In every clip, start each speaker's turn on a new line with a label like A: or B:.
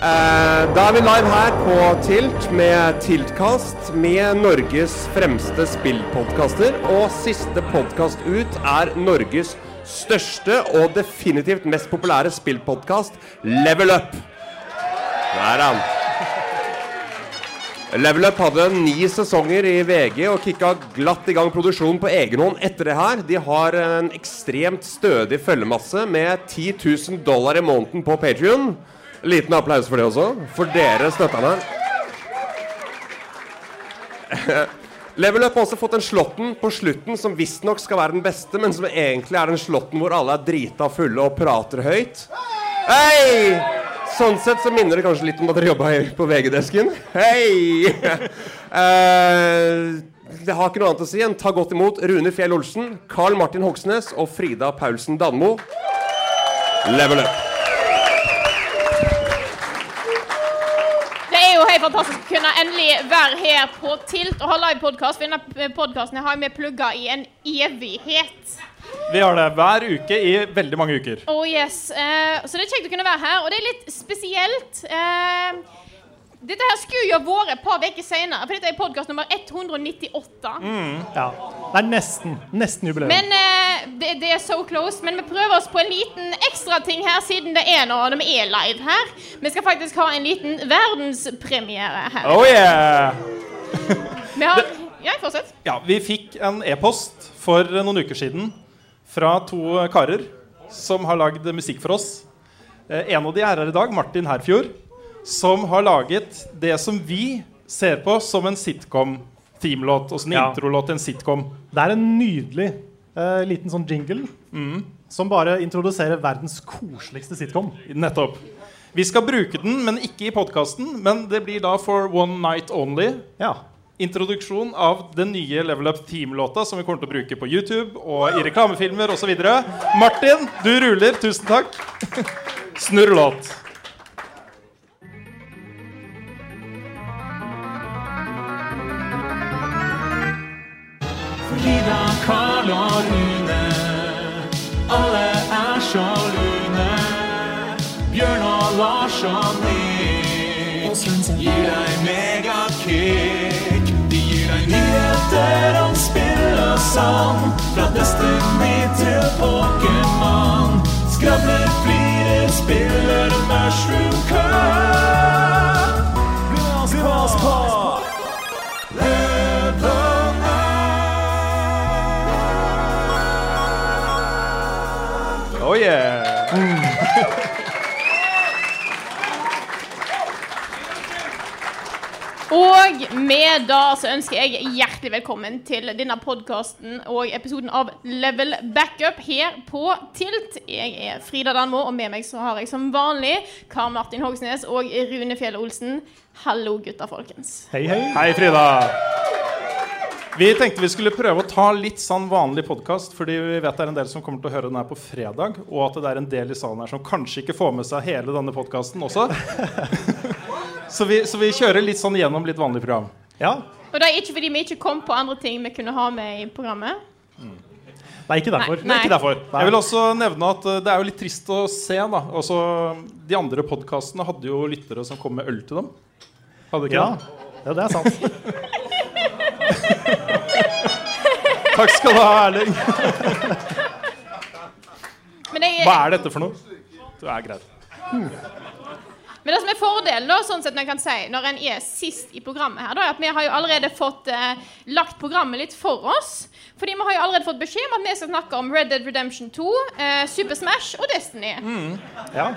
A: Eh, Da er vi live her på Tilt med Tiltkast med Norges fremste spillpodkaster. Og siste podkast ut er Norges største og definitivt mest populære spillpodkast, Level Up. Der er han. Level Up hadde ni sesonger i VG og kicka glatt i gang produksjonen på egen hånd etter det her. De har en ekstremt stødig følgemasse med 10 000 dollar i måneden på Patrion. Liten applaus for det også. For dere støtterne. Level Up har også fått en slåtten på slutten som visstnok skal være den beste, men som egentlig er den slåtten hvor alle er drita fulle og prater høyt. Hei! Sånn sett så minner det kanskje litt om at dere jobba på VG-desken. Hei! Eh, det har ikke noe annet å si enn ta godt imot Rune Fjell Olsen, Carl Martin Hogsnes og Frida Paulsen Danmo. Level up!
B: Det er jo helt fantastisk å kunne endelig være her på Tilt og ha livepodkast. Denne podkasten har vi plugga i en evighet.
C: Vi har det hver uke i veldig mange uker.
B: Oh yes. Eh, så det er kjekt å kunne være her. Og det er litt spesielt. Eh, dette her skulle jo vært et par uker senere, for dette er podkast nummer 198.
C: Ja. Det er nesten. Nesten jubileum.
B: Men eh, det, det er so close. Men vi prøver oss på en liten ekstra ting her, siden det er nå når vi er live her. Vi skal faktisk ha en liten verdenspremiere her.
C: Oh yeah!
B: Vi har Ja, fortsett.
C: Ja, vi fikk en e-post for noen uker siden fra to karer som har lagd musikk for oss. Eh, En av de er her i dag, Martin Herfjord, som har laget det som vi ser på som en sitcom-teamlåt. Og som en
D: Ja.
C: introlåt til en sitcom.
D: Det er en nydelig eh, liten sånn jingle
C: Mm.
D: som bare introduserer verdens koseligste sitcom.
C: Nettopp. Vi skal bruke den, men ikke i podkasten. Men det blir da for One Night Only.
D: Ja.
C: Introduksjon av den nye Level Up Team-låta som vi kommer til å bruke på YouTube og i reklamefilmer osv. Martin, du ruler. Tusen takk. Snurr låt.
D: Frida, Karl og Rune, alle er så lune. Bjørn og Lars og Nick gir deg megakick. De gir deg nyheter om spill og sang, fra Destiny til Pokémon. Skravler, flirer, spiller Mushroom Cup. Bli med oss på!
C: Oh yeah.
B: Og med det så ønsker jeg hjertelig velkommen til denne podkasten og episoden av Level Backup her på Tilt. Jeg er Frida Danmo, og med meg så har jeg som vanlig Karl Martin Hogsnes og Rune Fjell Olsen. Hallo, gutta folkens.
D: Hei, hei.
C: Hei, Frida. Vi tenkte vi skulle prøve å ta litt sånn vanlig podkast, fordi vi vet det er en del som kommer til å høre den her på fredag, og at det er en del i salen her som kanskje ikke får med seg hele denne podkasten også. så, vi, så vi kjører litt sånn gjennom litt vanlig program.
D: Ja,
B: Og det er ikke fordi vi ikke kom på andre ting vi kunne ha med i programmet.
D: det er ikke derfor.
B: Nei.
C: Nei. Ikke derfor.
D: Nei.
C: Jeg vil også nevne at eh, det er jo litt trist å se, da. Også, de andre podkastene hadde jo lyttere som kom med øl til dem. Hadde ikke
D: Ja.
C: det?
D: ja, det er sant.
C: Takk skal du ha, Erling.
B: Men jeg,
C: Hva er dette for noe? Det er greit.
B: Men det som er fordelen, da, sånn sett når, jeg kan si, når en er sist i programmet her, da, er at vi har jo allerede fått eh, lagt programmet litt for oss. Fordi vi har jo allerede fått beskjed om at vi skal snakke om Red Dead Redemption 2, eh, Super Smash og Destiny.
D: Mm. Ja.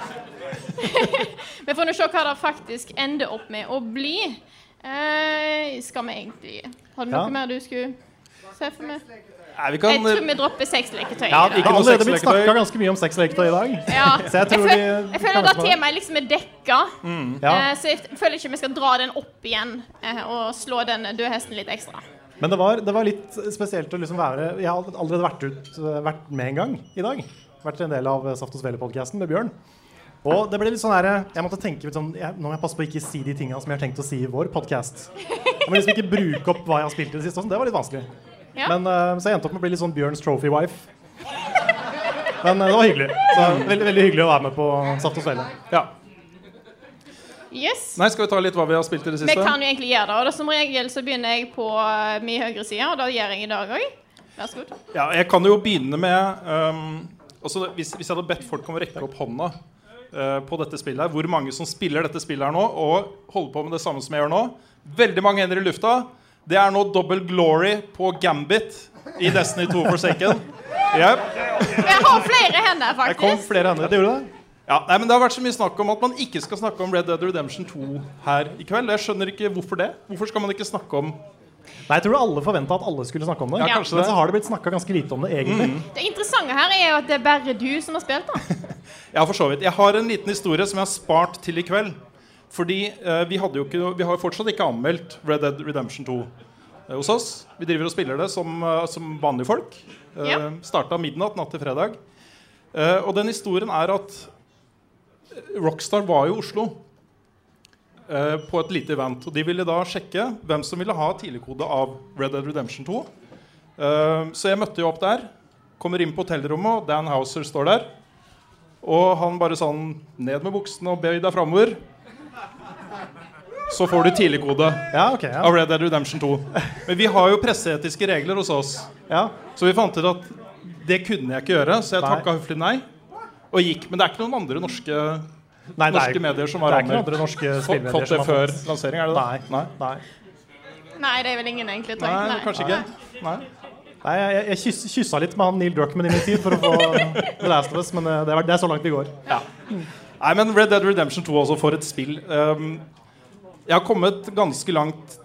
B: Vi får nå se hva det faktisk ender opp med å bli. Eh, skal vi egentlig Har du noe
D: Ja.
B: mer du skulle Se for meg.
C: Nei, vi
B: Jeg
C: kan
B: tror vi dropper sexleketøy.
C: Ja,
B: i
D: Det
B: dag.
C: ikke
D: har
C: noe
D: allerede blitt
C: sexleketøy.
D: snakka ganske mye om sexleketøy i dag.
B: Ja.
D: Så jeg
B: føl-
D: tror de-
B: jeg
D: kan
B: føler
D: være
B: da
D: smart.
B: temaet liksom er dekka.
D: Ja.
B: Eh, Så jeg føler ikke vi skal dra den opp igjen eh, og slå den døde hesten litt ekstra.
D: Men det var, det var litt spesielt å liksom være Jeg har allerede vært, ut, vært med en gang i dag. Vært en del av Saft og Svele-podkasten med Bjørn. Og det ble litt sånn her, jeg måtte tenke litt sånn, jeg, Nå må jeg passe på å ikke si de tinga som jeg har tenkt å si i vår podkast. Jeg må liksom ikke bruke opp hva jeg har spilt i det siste. og sånn. Det var litt vanskelig.
B: Ja.
D: Men, eh, så jeg endte opp med å bli litt sånn Bjørns trophy-wife. Men eh, det var hyggelig. Så veldig, veldig hyggelig å være med på Saft og Svele.
C: Ja.
B: Yes.
C: eh, Nei, skal vi ta litt hva vi har spilt i det
B: Vi
C: siste?
B: kan jo egentlig gjøre det, og da som regel så begynner jeg på eh, min høyre side, og det gjør jeg i dag òg. Vær så god.
C: Ja, jeg kan jo begynne med ehm, altså, hvis, hvis jeg hadde bedt folk om å rekke opp hånda eh, på dette spillet her, hvor mange som spiller dette spillet her nå, og holder på med det samme som jeg gjør nå Veldig mange hender i lufta. Det er nå double glory på Gambit i Destiny 2 Forsaken. Yep.
B: Jeg har flere hender,
D: Det kom
B: faktisk.
D: flere hender. Det gjorde det?
C: Ja, nei, men Det har vært så mye snakk om at man ikke skal snakke om Red Dead Redemption 2 her i kveld. Jeg skjønner ikke hvorfor det. Hvorfor skal man ikke snakke om
D: Nei, jeg tror alle forventa at alle skulle snakke om det.
C: Ja,
B: kanskje
C: det.
D: Men
C: Mm.
D: så har det blitt snakka ganske lite om det egentlig.
B: Det interessante her er jo at det er bare du som har spilt,
C: Eh,
B: da.
C: Ja, for så vidt. Jeg har en liten historie som jeg har spart til i kveld. Fordi eh, vi, hadde jo ikke, vi har jo fortsatt ikke anmeldt Red Dead Redemption 2 eh, hos oss. Vi driver og spiller det som, eh, som vanlige folk. Eh,
B: Ja.
C: Starta midnatt natt til fredag. Eh, og den historien er at Rockstar var i Oslo eh, på et lite event. Og de ville da sjekke hvem som ville ha tidligkode av Red Dead Redemption 2. Eh, så jeg møtte jo opp der. Kommer inn på hotellrommet, og Dan Houser står der. Og han bare sånn Ned med buksene og bøy deg framover. Så får du tidligkode
D: Ja, ok. Ja.
C: av Red Dead Redemption 2. Men vi har jo presseetiske regler hos oss,
D: Ja.
C: så vi fant ut at det kunne jeg ikke gjøre, så jeg
D: Nei.
C: takka høflig nei og gikk. Men det er ikke noen andre norske,
D: Nei, det er-
C: norske medier som
D: det
C: har
D: er ikke noen andre
C: anmeldt.
D: norske
C: Fått,
D: spillmedier
C: fått
D: som
C: det
D: har
C: før
D: fått-
C: lansering, er det
D: Nei.
C: det?
D: Nei.
B: Nei, det er vel ingen egentlig, tror
C: Nei,
B: jeg.
C: kanskje ikke. Nei.
D: Nei, jeg, jeg kyss, kyssa litt med han Neil Druckman i min tid for å få The Last of Us, men eh, det er, det er så langt vi går.
C: Nei, men Red Dead Redemption 2 også for et spill. Um, jeg har kommet ganske langt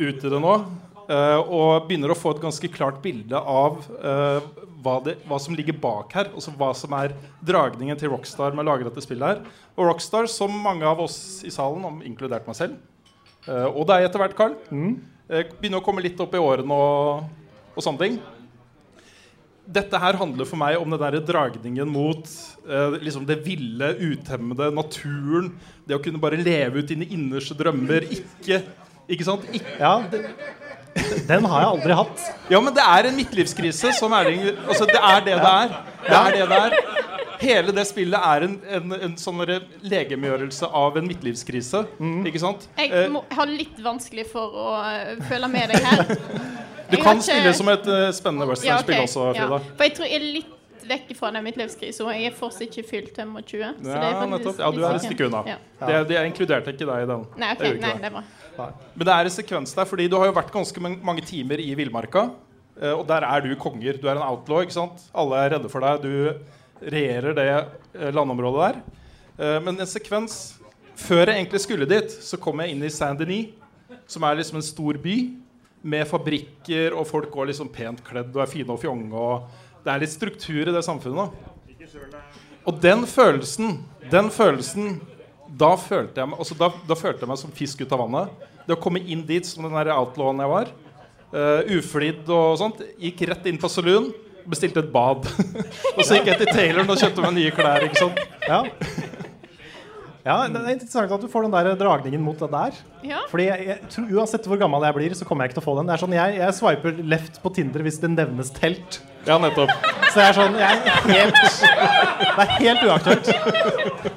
C: ut i det nå. eh, og begynner å få et ganske klart bilde av eh, hva, det, hva som ligger bak her. Altså hva som er dragningen til Rockstar med å lage dette spillet her. Og Rockstar, som mange av oss i salen, om inkludert meg selv, eh, og deg etter hvert, Carl, eh, begynner å komme litt opp i årene og, og sånne ting dette her handler for meg om den der dragningen mot eh, liksom det ville, utemmede, naturen. Det å kunne bare leve ut dine innerste drømmer. Ikke ikke sant? Ikke.
D: Ja, det, den har jeg aldri hatt.
C: Ja, men det er en midtlivskrise som Erling altså, Det er det det er. Det er det det er. Hele det spillet er en, en, en sånn derre legemgjørelse av en midtlivskrise. Ikke sant?
B: Jeg
C: Eh,
B: må, har litt vanskelig for å eh, følge med deg her.
C: du
B: jeg har
C: kan
B: ikke-
C: spille som et eh, spennende
B: Ja, ok.
C: westernspill også,
B: Ja.
C: Frida.
B: For jeg tror jeg er litt vekk fra den midtlivskrisen, og jeg er fortsatt ikke fylt 25. Så det er
C: Ja,
B: faktisk sånn,
C: nettopp. Ja, du er et stykke unna.
B: Ja.
C: Det, det jeg inkluderte ikke deg i den.
B: Nei, ok,
C: Jeg gjorde ikke
B: nei,
C: det.
B: det er bra.
C: Men det er en sekvens der, fordi du har jo vært ganske man- mange timer i villmarka. eh, Og der er du konger. Du er en outlaw. ikke sant? Alle er redde for deg. Du regjerer det eh, landområdet der. Eh, Men en sekvens Før jeg egentlig skulle dit, så kom jeg inn i Saint-Denis, som er liksom en stor by med fabrikker, og folk går liksom pent kledd og er fine og fjonge. og Det er litt struktur i det samfunnet. Og den følelsen, den følelsen da følte, jeg meg, altså da, da følte jeg meg som fisk ut av vannet. Det å komme inn dit som den der outlawen jeg var, eh, uflidd og sånt, gikk rett inn på saloon og bestilte et bad. og så gikk jeg til tailoren og kjøpte meg nye klær. ikke sant?
D: Ja. ja, det er interessant at du får den der dragningen mot det der.
B: Ja.
D: Fordi jeg, jeg tror Uansett hvor gammel jeg blir, så kommer jeg ikke til å få den. Det er sånn, Jeg, jeg swiper left på Tinder hvis det nevnes telt.
C: Ja, nettopp.
D: Så jeg er sånn jeg er helt, Det er helt uaktuelt.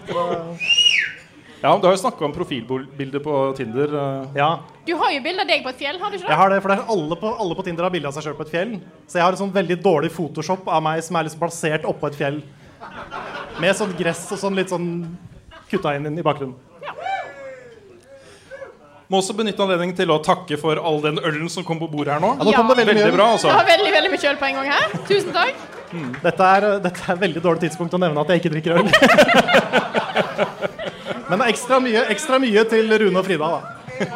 C: Ja, men Du har jo snakka om profilbilder på Tinder. eh.
D: Ja,
B: Du har jo bilde av deg på et fjell, har du ikke
D: Jeg
B: det?
D: har det, for det er alle, på, alle på Tinder har bilde av seg sjøl på et fjell. Så jeg har et sånn veldig dårlig Photoshop av meg som er liksom plassert oppå et fjell. Med sånn gress og sånn litt sånn kutta inn i bakgrunnen.
C: Må også benytte anledningen til å takke for all den ølen som kom på bordet her nå.
D: nå kom det veldig mye.
C: bra,
B: Det
C: altså.
B: var veldig veldig mye øl på en gang her. Tusen takk.
D: Dette er, dette er et veldig dårlig tidspunkt å nevne at jeg ikke drikker øl. Men det er ekstra mye, ekstra mye til Rune og Frida, da.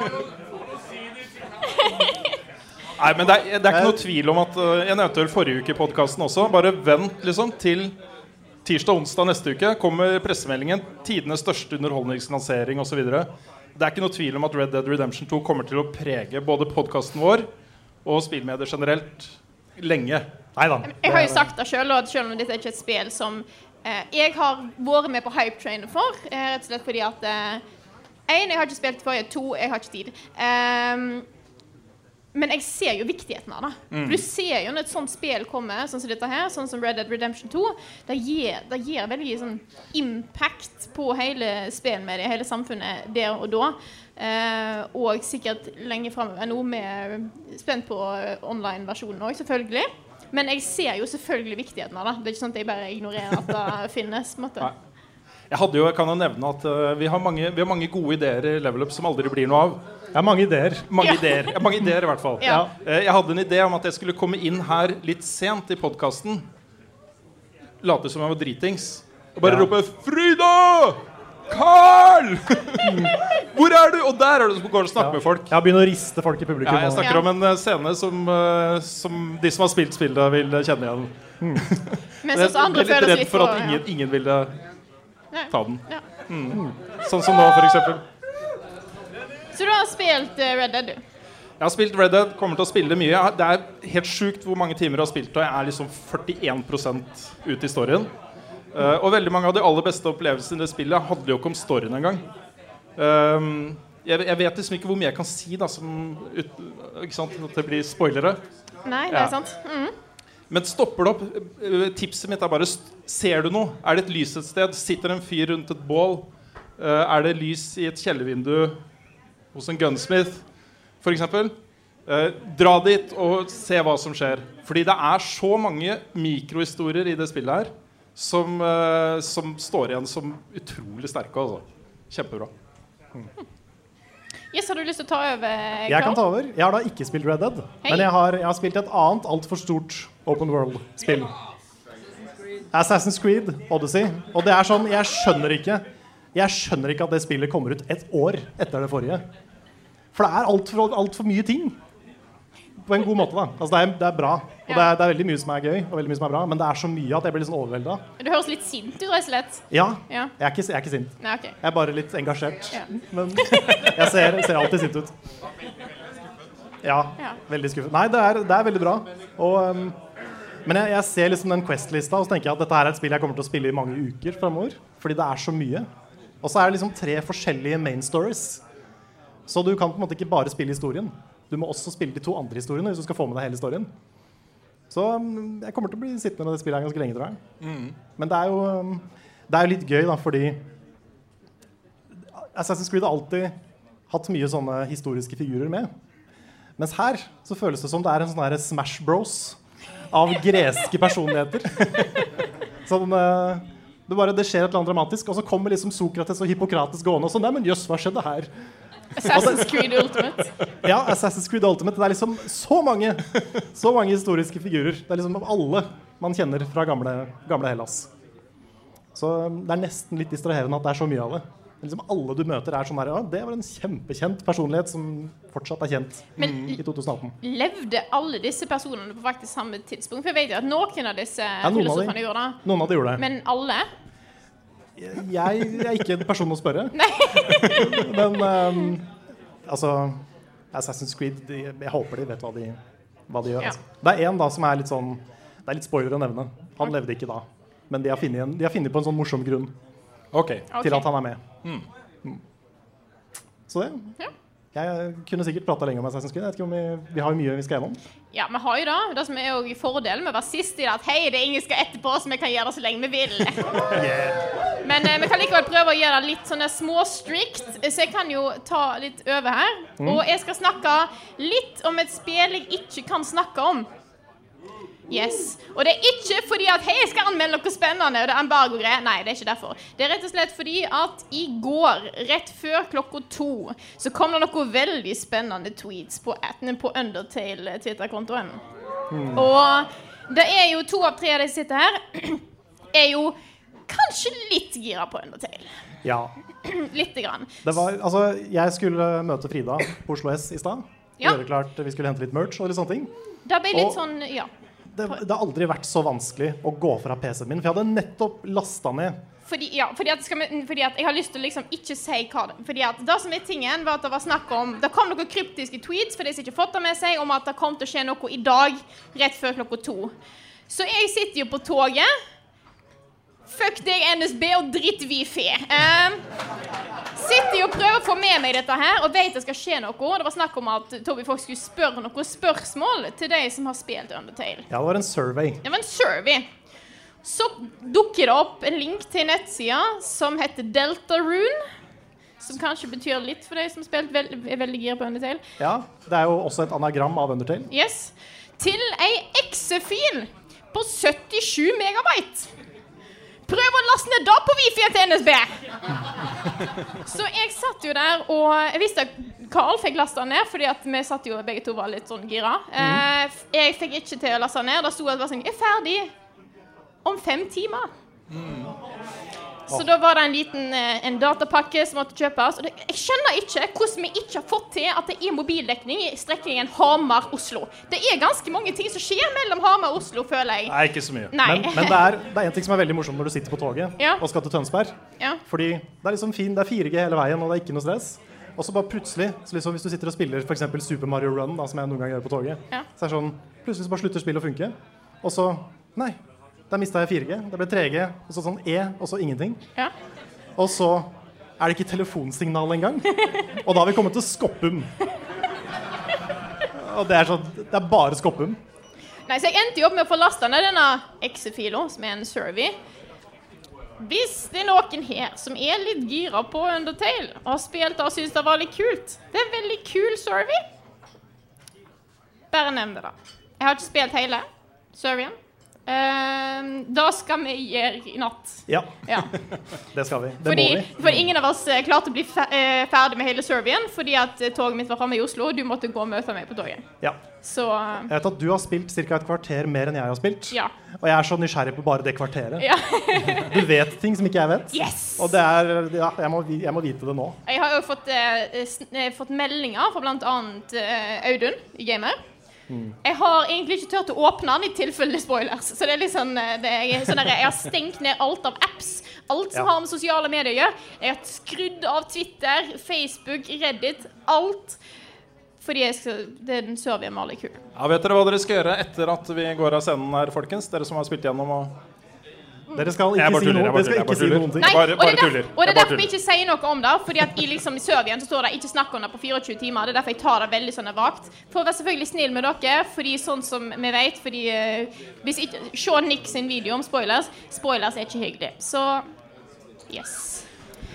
C: Nei, men det er, det er ikke noe tvil om at eh, Jeg nevnte vel forrige uke i podkasten også. Bare vent liksom til tirsdag-onsdag neste uke. Kommer pressemeldingen. Tidenes største underholdningslansering osv. Det er ikke noe tvil om at Red Dead Redemption 2 kommer til å prege både podkasten vår og spillmedier generelt lenge.
D: Nei da.
B: Jeg har jo sagt det sjøl, at selv om dette ikke er et spill som eh, jeg har vært med på hypetrainen for, eh, rett og slett fordi at eh, Én, jeg har ikke spilt forrige. To, jeg har ikke tid. Ehm, men jeg ser jo viktigheten av det.
E: Mm.
B: Du ser jo når et sånt spill kommer, sånn som dette her, sånn som Red Dead Redemption 2, det gir, det gir veldig sånn impact på hele spillmediet, hele samfunnet, der og da. Eh, og sikkert lenge framover. Nå er vi spent på eh, online-versjonen òg, selvfølgelig. Men jeg ser jo selvfølgelig viktigheten av det. Det er ikke sånn at jeg bare ignorerer at det finnes. på en måte.
C: Jeg hadde jo, jeg kan jo nevne at eh, vi, har mange, vi har mange gode ideer i Level Up som aldri blir noe av.
D: Ja, mange ideer.
C: Mange
B: Ja.
C: ideer, ja, mange ideer i hvert fall.
B: Ja.
C: Eh, Jeg hadde en idé om at jeg skulle komme inn her litt sent i podkasten. Late som jeg var dritings. Og bare
D: Ja.
C: rope 'Fryda! Carl! Hvor er du?' Og der er du som går og snakker med folk.
D: Ja, begynner å riste folk i publikum.
C: Ja, jeg
D: og-
C: snakker om en eh, scene som, eh, som de som har spilt spillet, vil eh, kjenne igjen.
B: Mens oss andre
C: jeg er
B: føler oss
C: litt redd
B: litt
C: for at
B: for-
C: ingen, ingen ville
B: Nei.
C: ta den.
B: Ja.
C: Mm. Sånn som nå, f.eks.
B: Så du har spilt eh, Red Dead, du?
C: Jeg har spilt Red Dead, kommer til å spille mye. Jeg har- Det er helt sjukt hvor mange timer jeg har spilt, og jeg er liksom 41 ute i storyen. Eh, og veldig mange av de aller beste opplevelsene i det spillet handler jo ikke om storyen engang. Um, jeg, jeg vet liksom ikke hvor mye jeg kan si, da, som ut, ikke sant, at det blir spoilere.
B: Nei, det
C: Ja.
B: er sant. Mm.
C: Men stopper det opp eh, Tipset mitt er bare st- Ser du noe? Er det et lys et sted? Sitter en fyr rundt et bål? Eh, Er det lys i et kjellervindu hos en gunsmith, f.eks.? Dra dit og se hva som skjer. Fordi det er så mange mikrohistorier i det spillet her som, eh, som står igjen som utrolig sterke. Altså. Kjempebra.
B: Yes, har du lyst til å ta over? eh,
D: Jeg kan
B: Carl?
D: ta over. Jeg har da ikke spilt Red Dead.
B: Hei.
D: Men jeg har, jeg har spilt et annet altfor stort open world-spill. Assassin's Creed Odyssey. Og det er sånn, jeg skjønner ikke Jeg skjønner ikke at det spillet kommer ut et år etter det forrige. For det er altfor alt altfor mye ting. På en god måte, da. Altså, det, er, det er bra. Og det er, det er veldig mye som er gøy, og veldig mye som er bra, men det er så mye at jeg blir litt sånn overvelda.
B: Du høres litt sint ut, rett og slett.
D: Ja,
B: Ja.
D: jeg er ikke, jeg er ikke sint.
B: Nei, OK.
D: Jeg er bare litt engasjert.
B: Ja.
D: Men jeg ser, ser alltid sint ut. Ja,
B: Ja.
D: veldig skuffet. Nei, det er, det er veldig bra. Og, um, men jeg, jeg ser liksom den Quest-lista og så tenker jeg at dette her er et spill jeg kommer til å spille i mange uker fremover. Fordi det er så mye. Og så er det liksom tre forskjellige main stories. Så du kan på en måte ikke bare spille historien. Du må også spille de to andre historiene hvis du skal få med deg hele storyen. Så um, jeg kommer til å bli sittende med det spillet her ganske lenge, tror jeg. Men det er jo, um, det er jo litt gøy, da, fordi Assassin's Creed har alltid hatt mye sånne historiske figurer med. Mens her så føles det som det er en sånn her Smash Bros av greske personligheter. Sånn eh, det, bare, det skjer et eller annet dramatisk, og så kommer liksom Sokrates og Hippokrates gående. Og sånn, nei, men jøss, hva skjedde her?
B: Assassin's Creed Ultimate.
D: Ja, Assassin's Creed Ultimate. Det er liksom så mange Så mange historiske figurer. Det er liksom alle man kjenner fra gamle, gamle Hellas. Så um, det er nesten litt distraherende at det er så mye av det. Det er Liksom Alle du møter, er sånn her Ja, det var en kjempekjent personlighet som fortsatt er kjent
B: Men-
D: i 2018.
B: Levde alle disse personene på faktisk samme tidspunkt? For jeg vet jo at noen av disse
D: noen av de.
B: filosofene gjorde det.
D: Noen av de gjorde det.
B: Men alle?
D: Jeg er ikke en person å spørre. Men um, altså Assassin's Creed de, Jeg håper de vet hva de, hva de gjør.
B: Ja.
D: Altså. Det er en da som er litt sånn Det er litt spoiler å nevne. Han levde ikke da. Men de har funnet en- de har funnet på en sånn morsom grunn
C: Ok.
B: Ok.
D: til at han er med. Mm. Så det.
B: Ja.
D: Jeg kunne sikkert prata lenge om Assassin's Creed. Jeg vet ikke om vi, vi har jo mye vi skal gjennom.
B: Ja, vi har jo det. Det som er jo fordelen med å være sist i det, at hei, det er ingen som skal etterpå, så vi kan gjøre det så lenge vi vil. Men eh, vi kan likevel prøve å gjøre det litt sånne småstrikt, så jeg kan jo ta litt over her.
D: Mm.
B: Og jeg skal snakke litt om et spill jeg ikke kan snakke om. Yes. Og det er ikke fordi at hei, jeg skal anmelde noe spennende, og det er embargo-greier. Nei, det er ikke derfor. Det er rett og slett fordi at i går, rett før klokka to, så kom det noen veldig spennende tweets på, atten- på Undertale-twitterkontoen. Og det er jo to av tre av de som sitter her, er jo kanskje litt gira på Undertale.
D: Ja.
B: Lite grann.
D: Det var, altså, jeg skulle møte Frida på Oslo S i stad.
B: Ja.
D: gjøre klart Vi skulle hente litt merch og litt sånne ting.
B: Det ble litt
D: Og-
B: sånn Ja.
D: Det, det har aldri vært så vanskelig å gå fra PC-en min, for jeg hadde nettopp lasta ned
B: Fordi, ja, fordi, at, skal vi, fordi at jeg har lyst til å liksom ikke si hva det Fordi at det som er tingen, var at det var snakk om Det kom noen kryptiske tweets for de som ikke fått det med seg, om at det kom til å skje noe i dag, rett før klokka to. Så jeg sitter jo på toget. Fuck deg, NSB, og dritt Wifi. Um, sitter jo og prøver å få med meg dette her, og vet det skal skje noe. Det var snakk om at Toby Fox skulle spørre noen spørsmål til de som har spilt Undertale.
D: Ja, det var en survey.
B: Det var en survey. Så dukker det opp en link til nettsida som heter Deltarune. Som kanskje betyr litt for deg som spilt vel, er veldig gira på Undertale.
D: Ja, Det er jo også et anagram av Undertale.
B: Yes. Til ei exe-fil på 77 megabyte. Prøv å laste ned det på wifi til NSB! Så jeg satt jo der, og jeg visste at Carl fikk lasta ned, fordi at vi satt jo begge to var litt sånn gira.
D: Mm.
B: Eh, f- Jeg fikk ikke til å laste ned. Det sto at det var sånn, jeg er ferdig om fem timer.
D: Mm.
B: Så da var det en liten eh, en datapakke som måtte kjøpes. Og det, jeg skjønner ikke hvordan vi ikke har fått til at det er mobildekning i strekningen Hamar-Oslo. Det er ganske mange ting som skjer mellom Hamar og Oslo, føler jeg.
C: Nei, ikke så mye.
B: Nei.
D: Men, men det er det er en ting som er veldig morsomt når du sitter på toget
B: Ja.
D: og skal til Tønsberg.
B: Ja.
D: Fordi det er liksom fin, det er 4G hele veien, og det er ikke noe stress. Og så bare plutselig, så liksom hvis du sitter og spiller for eksempel Super Mario Run, da, som jeg noen ganger gjør på toget,
B: Ja.
D: så er det sånn Plutselig så bare slutter spillet å funke. Og så Nei, der mista jeg 4G. Det ble 3G, og så sånn E, og så ingenting.
B: Ja.
D: Og så er det ikke telefonsignal engang. Og da har vi kommet til Skoppum. Og det er sånn Det er bare Skoppum.
B: Nei, så jeg endte jo opp med å få lasta ned denne Exe-fila, som er en survey. Hvis det er noen her som er litt gira på Undertale, og har spilt det og syns det var litt kult Det er en veldig kul survey. Bare nevn det, da. Jeg har ikke spilt hele surveyen. Ehm, da skal vi gjøre i natt.
D: Ja,
B: Ja.
D: det skal vi. Det
B: Fordi,
D: må vi.
B: for ingen av oss eh, klarte å bli fe eh, ferdig med hele surveyen fordi at eh, toget mitt var framme i Oslo, og du måtte gå og møte meg på toget.
D: Ja.
B: Så eh,
D: Jeg vet at du har spilt ca. et kvarter mer enn jeg har spilt.
B: Ja.
D: Og jeg er så nysgjerrig på bare det kvarteret.
B: ja.
D: Du vet ting som ikke jeg vet.
B: Yes!
D: Og det er Ja, jeg må, vi- jeg må vite det nå.
B: Jeg har jo fått, eh, sn- eh, fått meldinger fra bl.a. Eh, Audun, gamer. Jeg har egentlig ikke turt å åpne den i tilfelle det er spoilers. Så det er litt sånn, eh, det er sånn der, Jeg har stengt ned alt av apps. Alt som
D: Ja.
B: har med sosiale medier å gjøre. Jeg har skrudd av Twitter, Facebook, Reddit. Alt. Fordi jeg skal, det er den serien med alle kul.
C: Ja, Vet dere hva dere skal gjøre etter at vi går av scenen her, folkens? Dere som har spilt gjennom og
B: Mm.
D: Dere skal
C: Jeg
D: ikke
C: bare
D: si
C: tuller.
D: noe.
C: Jeg bare tuller.
D: Dere skal
C: Jeg
D: ikke
C: bare
D: si
C: tuller.
D: noen ting.
B: Nei,
C: Jeg bare,
B: og det
C: bare
B: er
C: tuller.
B: derf- og det
C: Jeg
B: er
C: bare
B: derfor vi
C: tuller.
B: ikke sier noe om det. Fordi at i, liksom, i serien så står det 'ikke snakk om det' på 24 timer. Det er derfor jeg tar det veldig sånn vagt. For å være selvfølgelig snill med dere, fordi sånn som vi vet fordi, eh, hvis ikke, Se Nick sin video om spoilers. Spoilers er ikke hyggelig. Så yes.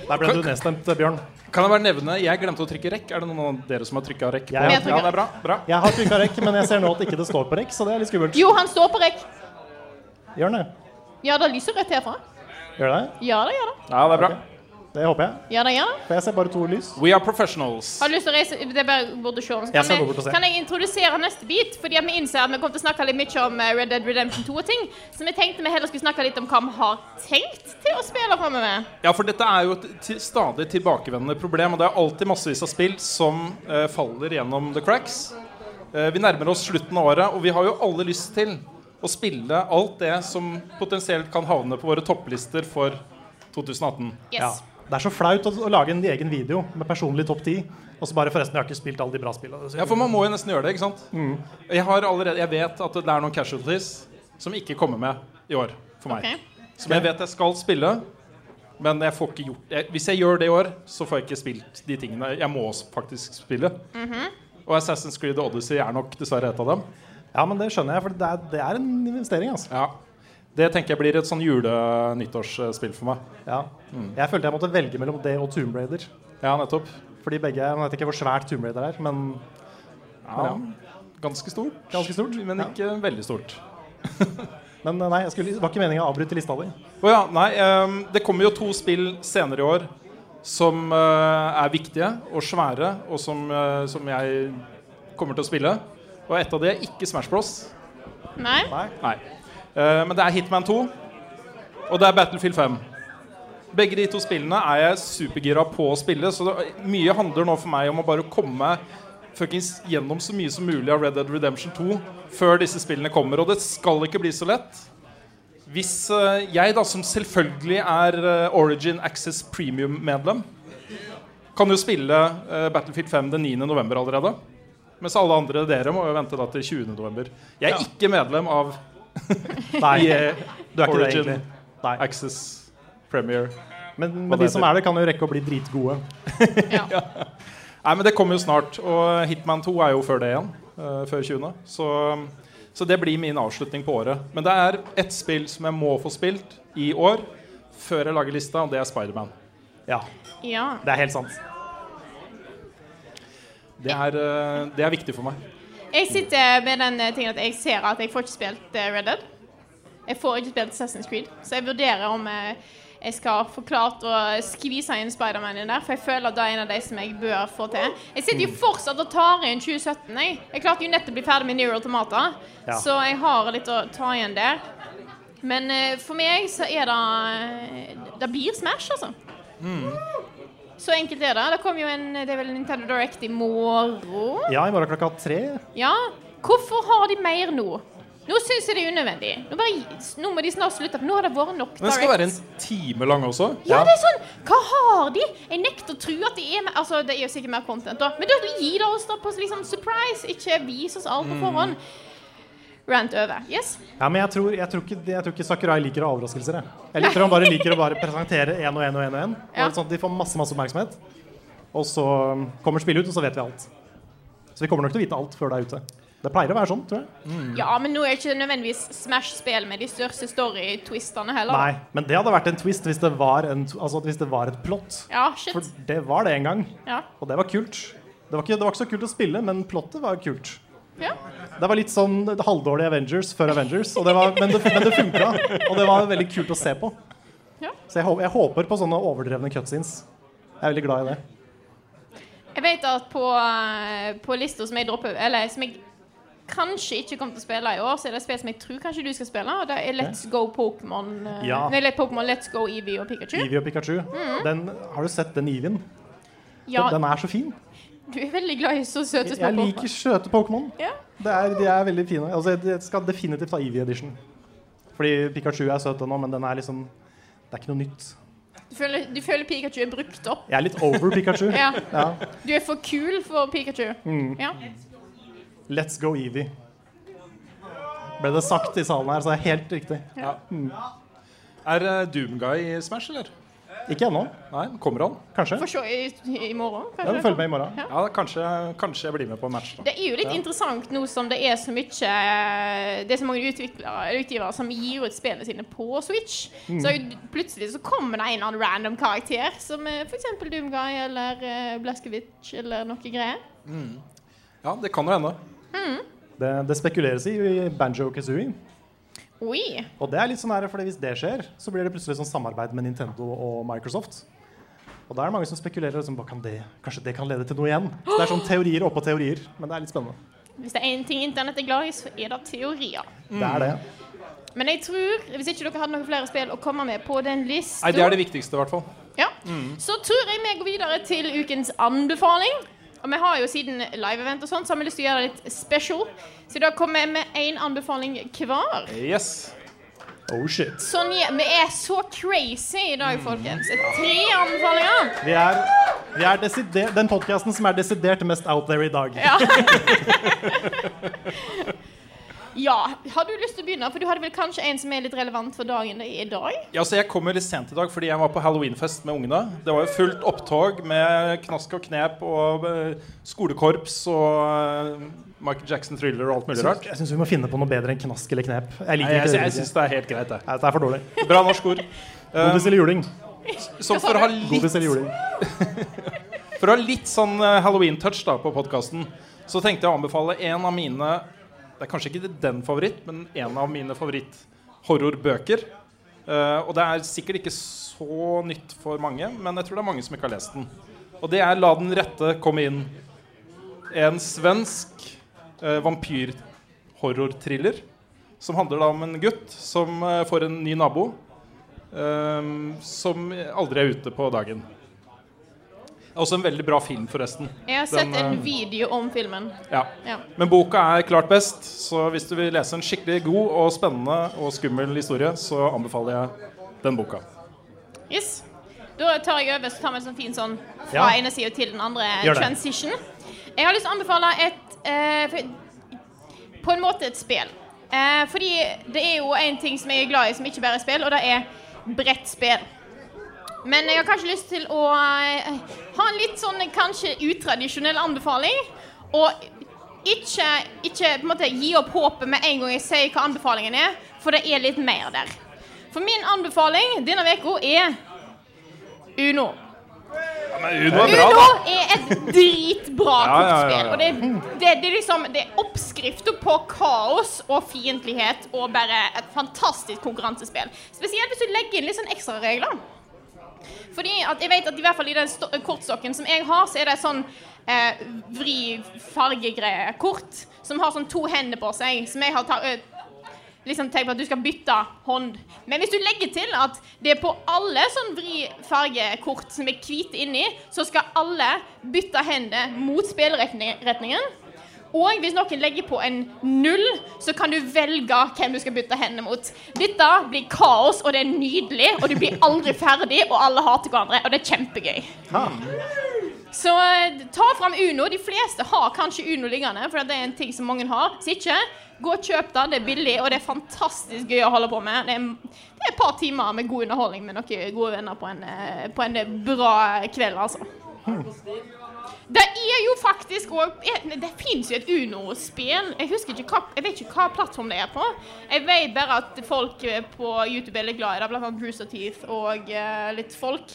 D: Der ble du nedstemt,
C: eh,
D: Bjørn.
C: Kan jeg bare nevne, jeg glemte å trykke rekk. Er det noen av dere som har trykka rekk? på-
D: Jeg har
C: ja,
B: trykket.
C: det er bra. bra.
D: Jeg har trykka rekk, men jeg ser nå at ikke det står på rekk, så det er litt skummelt.
B: Jo, han står på rekk.
D: Gjør den det?
B: Ja, det lyser rødt herfra.
D: Gjør det?
B: Ja da, ja da.
C: Ja, det er bra.
D: Det håper jeg.
B: Ja da, ja da.
D: For jeg ser bare to lys.
C: We are professionals.
B: Har du lyst til å reise Det er bare bort og se. Så
D: Jeg skal
B: Kan,
D: gå bort og
B: vi-
D: se.
B: kan jeg introdusere neste bit? Fordi at vi innser at vi kommer til å snakke litt mye om eh, Red Dead Redemption 2 og ting. Så vi tenkte vi heller skulle snakke litt om hva vi har tenkt til å spille framover.
C: Ja, for dette er jo et til, stadig tilbakevendende problem, og det er alltid massevis av spill som eh, faller gjennom the cracks. Eh, vi nærmer oss slutten av året, og vi har jo alle lyst til å spille alt det som potensielt kan havne på våre topplister for 2018.
B: Yes.
D: Ja. Det er så flaut å, å lage en egen video med personlig topp ti, og så bare forresten, jeg har ikke spilt alle de bra spillene.
C: Ja, for man må jo nesten gjøre det, ikke sant?
D: Mm.
C: Jeg, har allerede, jeg vet at det er noen casualties som ikke kommer med i år for meg.
B: Ok.
C: Som jeg vet jeg skal spille, men jeg får ikke gjort jeg, Hvis jeg gjør det i år, så får jeg ikke spilt de tingene jeg må s- faktisk spille. Og Assassin's Creed og Odyssey er nok dessverre et av dem.
D: Ja, men det skjønner jeg, for det er, det er en investering, altså.
C: Ja. Det tenker jeg blir et sånn jule-nyttårsspill for meg.
D: Ja.
C: Mm.
D: Jeg følte jeg måtte velge mellom det og Tomb Raider.
C: Ja, nettopp.
D: Fordi begge Jeg vet ikke hvor svært Tomb Raider er, men
C: Ja, ganske stort.
D: Ganske stort,
C: men
D: ja.
C: ikke veldig stort.
D: Men eh, nei, jeg skulle, det var ikke meningen å avbryte lista di.
C: Å ja, nei. ehm, det kommer jo to spill senere i år som eh, er viktige og svære, og som, eh, som jeg kommer til å spille. Og et av de er ikke Smash Bros.
B: Nei?
C: Nei. Eh, men det er Hitman 2, og det er Battlefield 5. Begge de to spillene er jeg supergira på å spille, så det, mye handler nå for meg om å bare komme fuckings gjennom så mye som mulig av Red Dead Redemption 2 før disse spillene kommer. Og det skal ikke bli så lett. Hvis eh, jeg, da, som selvfølgelig er eh, Origin Access Premium-medlem, kan jo spille eh, Battlefield 5 den 9. november allerede. Mens alle andre dere må jo vente da til 20. november. Jeg er ikke medlem av
D: Nei,
C: EA
D: du er ikke det
C: eh, Origin
D: egentlig. Nei.
C: Access Premier.
D: Men,
C: Hva
D: men
C: det
D: de som
C: heter.
D: er det, kan jo rekke å bli dritgode.
C: Nei, men det kommer jo snart. Og Hitman 2 er jo før det igjen. eh, før 20. Så, så det blir min avslutning på året. Men det er ett spill som jeg må få spilt i år før jeg lager lista, og det er Spiderman.
D: Ja,
B: Ja.
D: det er helt sant.
C: Det, er, eh, det er viktig for meg.
B: Jeg sitter med den eh, tingen at jeg ser at jeg får ikke spilt eh, Red Dead. Jeg får ikke spilt Assassin's Creed, så jeg vurderer om eh, jeg skal få klart å skvise inn Spiderman inn der, for jeg føler at det er en av de som jeg bør få til. Jeg sitter jo fortsatt og tar inn 2017. Jeg, jeg klarte jo nettopp å bli ferdig med Neuro Automata,
D: Ja.
B: så jeg har litt å ta igjen der. Men eh, for meg så er det eh, Det blir Smash, altså. Så enkelt er det. Det kommer jo en Det er vel Nintendo Direct i morgen?
D: Ja, i morgen klokka tre.
B: Ja, hvorfor har de mer nå? Nå syns jeg det er unødvendig. Nå, bare, nå må de snart slutte, for nå har det vært nok
C: Den skal være en
B: Directs.
C: time lang også.
B: Ja, det er sånn Hva har de? Jeg nekter å tro at det er mer Altså, det er jo sikkert mer content, da. Men da gir det oss da på liksom surprise. Ikke vis oss
C: Mm.
B: alt på forhånd. Rant over. Yes.
D: Ja, men jeg tror, jeg, tror ikke, jeg tror ikke Sakurai liker å ha overraskelser. Jeg, jeg liker Han bare liker å bare presentere én og én og én. Og en.
B: Ja.
D: Sånn at de får masse masse oppmerksomhet. Og så um, kommer spillet ut, og så vet vi alt. Så vi kommer nok til å vite alt før det er ute. Det pleier å være sånn, tror jeg.
B: Ja, men nå er ikke det nødvendigvis Smash-spill med de største story-twistene heller.
D: Nei, Men det hadde vært en twist hvis det var, en, altså, hvis det var et plott.
B: Ja, shit.
D: For det var det en gang.
B: Ja.
D: Og det var kult. Det var, ikke, det var ikke så kult å spille, men plottet var kult.
B: ja.
D: Det var litt sånn halvdårlig Avengers før Avengers, og det var, men det, men det funka. Og det var veldig kult å se på.
B: Ja.
D: Så jeg, hå- jeg håper på sånne overdrevne cutscenes. Jeg er veldig glad i det.
B: Jeg vet at på, eh, på lista som jeg dropper Eller som jeg kanskje ikke kommer til å spille i år, så er det et spill som jeg tror kanskje du skal spille. Og det er Let's Go Pokémon. eh,
D: Ja.
B: Nei, Let- Pokémon Let's Go Eevee og Pikachu.
D: Eevee og Pikachu. Den, har du sett den Eeveen?
B: Mhm. Ja,
D: Den er så fin.
B: du er veldig glad i så søte små
D: Jeg liker søte Pokémon.
B: Ja.
D: Det er, de er veldig fine. Altså, jeg jeg skal definitivt ta Eevee Edition. Fordi Pikachu er søt ennå, men den er liksom Det er ikke noe nytt.
B: Du føler, du føler Pikachu er brukt opp.
D: Jeg er litt over Pikachu.
B: Ja.
D: Ja. Mm.
B: Du er for kul for Pikachu. Ja.
D: Let's go Eevee. Ble det sagt i salen her, så det er helt riktig.
C: Er eh, Doomguy i Smash, eller?
D: Ikke ennå,
C: Nei, kommer han?
D: kanskje.
B: Får se i, i morgen.
D: Ja, vi
B: kanskje.
D: følger med i morgen.
C: Ja, kanskje, kanskje jeg blir med på en match, da.
B: Det er jo litt interessant nå som det er så mye eh, Det er så mange utviklere eller utgivere som gir ut spillene sine på Switch.
C: Mm.
B: Så er jo plutselig så kommer det en eller annen random karakter, som eh, for eksempel Doomguy eller eh, Blaskovic eller noe greier.
C: Ja, det kan jo hende.
D: Det, det spekuleres i, i Banjo Kazooie.
B: Oi!
D: Og det er litt sånn her, fordi hvis det skjer, så blir det plutselig sånn samarbeid med Nintendo og Microsoft. Og da er det mange som spekulerer liksom, hva kan det, kanskje det kan lede til noe igjen. Så det er sånn teorier oppå teorier, men det er litt spennende.
B: Hvis det er én ting internett er glad i, så er det teorier.
D: Det er det.
B: Men jeg tror, hvis ikke dere hadde noen flere spill å komme med på den lista,
C: Nei, det er det viktigste, i hvert fall.
B: ja, så tror jeg vi går videre til ukens anbefaling. Og vi har jo siden live-event og sånt, så har vi lyst til å gjøre det litt special. Så da kommer jeg med én anbefaling hver.
C: Yes. Mm.
D: Oh shit.
B: Sånn, ja, vi er så crazy i dag, folkens. Tre anbefalinger.
D: Vi er, vi er desider, den podkasten som er desidert mest out there i dag.
B: Ja. ja. Har du lyst til å begynne? For du hadde vel kanskje en som er litt relevant for dagen i dag?
C: Ja, så Jeg kommer litt sent i dag fordi jeg var på halloweenfest med ungene. Det var jo fullt opptog med knask og knep og eh, skolekorps og eh, Michael Jackson thriller og alt mulig rart.
D: Jeg syns vi må finne på noe bedre enn knask eller knep. Jeg
C: Nei,
D: liker
C: jeg
D: ikke
C: sy-
D: det.
C: jeg syns det er helt greit, det.
D: Nei, Dette er for dårlig.
C: Bra norsk ord.
D: Godis eller juling?
C: Så for å ha litt,
D: Godis eller juling.
C: for å ha litt sånn eh, halloween-touch da på podkasten, så tenkte jeg å anbefale en av mine Det er kanskje ikke den favoritt, men en av mine favoritt-horrorbøker. Eh, og det er sikkert ikke så nytt for mange, men jeg tror det er mange som ikke har lest den. Og det er 'La den rette komme inn'. En svensk eh, vampyrhorrorthriller som handler da om en gutt som eh, får en ny nabo eh, som aldri er ute på dagen. Også en veldig bra film, forresten.
B: Jeg har sett
C: Den, eh,
B: en video om filmen.
C: Ja.
B: Ja.
C: Men boka er klart best, så hvis du vil lese en skikkelig god og spennende og skummel historie, så anbefaler jeg den boka.
B: Yes. Da tar jeg over så tar vi en sånn fin sånn fra
C: Ja.
B: ene sida til den andre
C: Gjør det.
B: transition. Jeg har lyst til å anbefale et eh, for- På en måte et spill. Eh, fordi det er jo en ting som jeg er glad i som ikke bare er spill, og det er brettspill. Men jeg har kanskje lyst til å eh, ha en litt sånn kanskje utradisjonell anbefaling. Og ikke, ikke på en måte gi opp håpet med en gang jeg sier hva anbefalingen er, for det er litt mer der. For min anbefaling denne uka er Uno.
C: Uno er bra,
B: Uno
C: da!
B: er et dritbra
C: Ja, ja, ja, ja.
B: kortspill. Og det, det, det er liksom Det er oppskriften på kaos og fiendtlighet og bare et fantastisk konkurransespill. Spesielt hvis du legger inn litt sånn ekstraregler. Fordi at jeg vet at i hvert fall i den sto- kortstokken som jeg har, så er det sånn eh, vri-fargegreie-kort som har sånn to hender på seg, som jeg har ta, eh, ø, liksom tenkt på at du skal bytte hånd. Men hvis du legger til at det er på alle sånn vri-fargekort som er hvite inni, så skal alle bytte hender mot spillretningen. Og hvis noen legger på en null, så kan du velge hvem du skal bytte hendene mot. Dette blir kaos, og det er nydelig, og du blir aldri ferdig, og alle hater hverandre, og det er kjempegøy. Så eh, ta fram Uno. De fleste har kanskje Uno liggende, for det er en ting som mange har. Hvis ikke, gå og kjøp det. Det er billig, og det er fantastisk gøy å holde på med. Det er, det er et par timer med god underholdning med noen gode venner på en, eh, på en bra kveld, altså. Det er jo faktisk òg Det fins jo et Uno-spill. Jeg husker ikke hva, jeg vet ikke hva plattform det er på. Jeg vet bare at folk eh, på YouTube er litt glad i det, blant annet Bruce Teeth og eh, litt folk.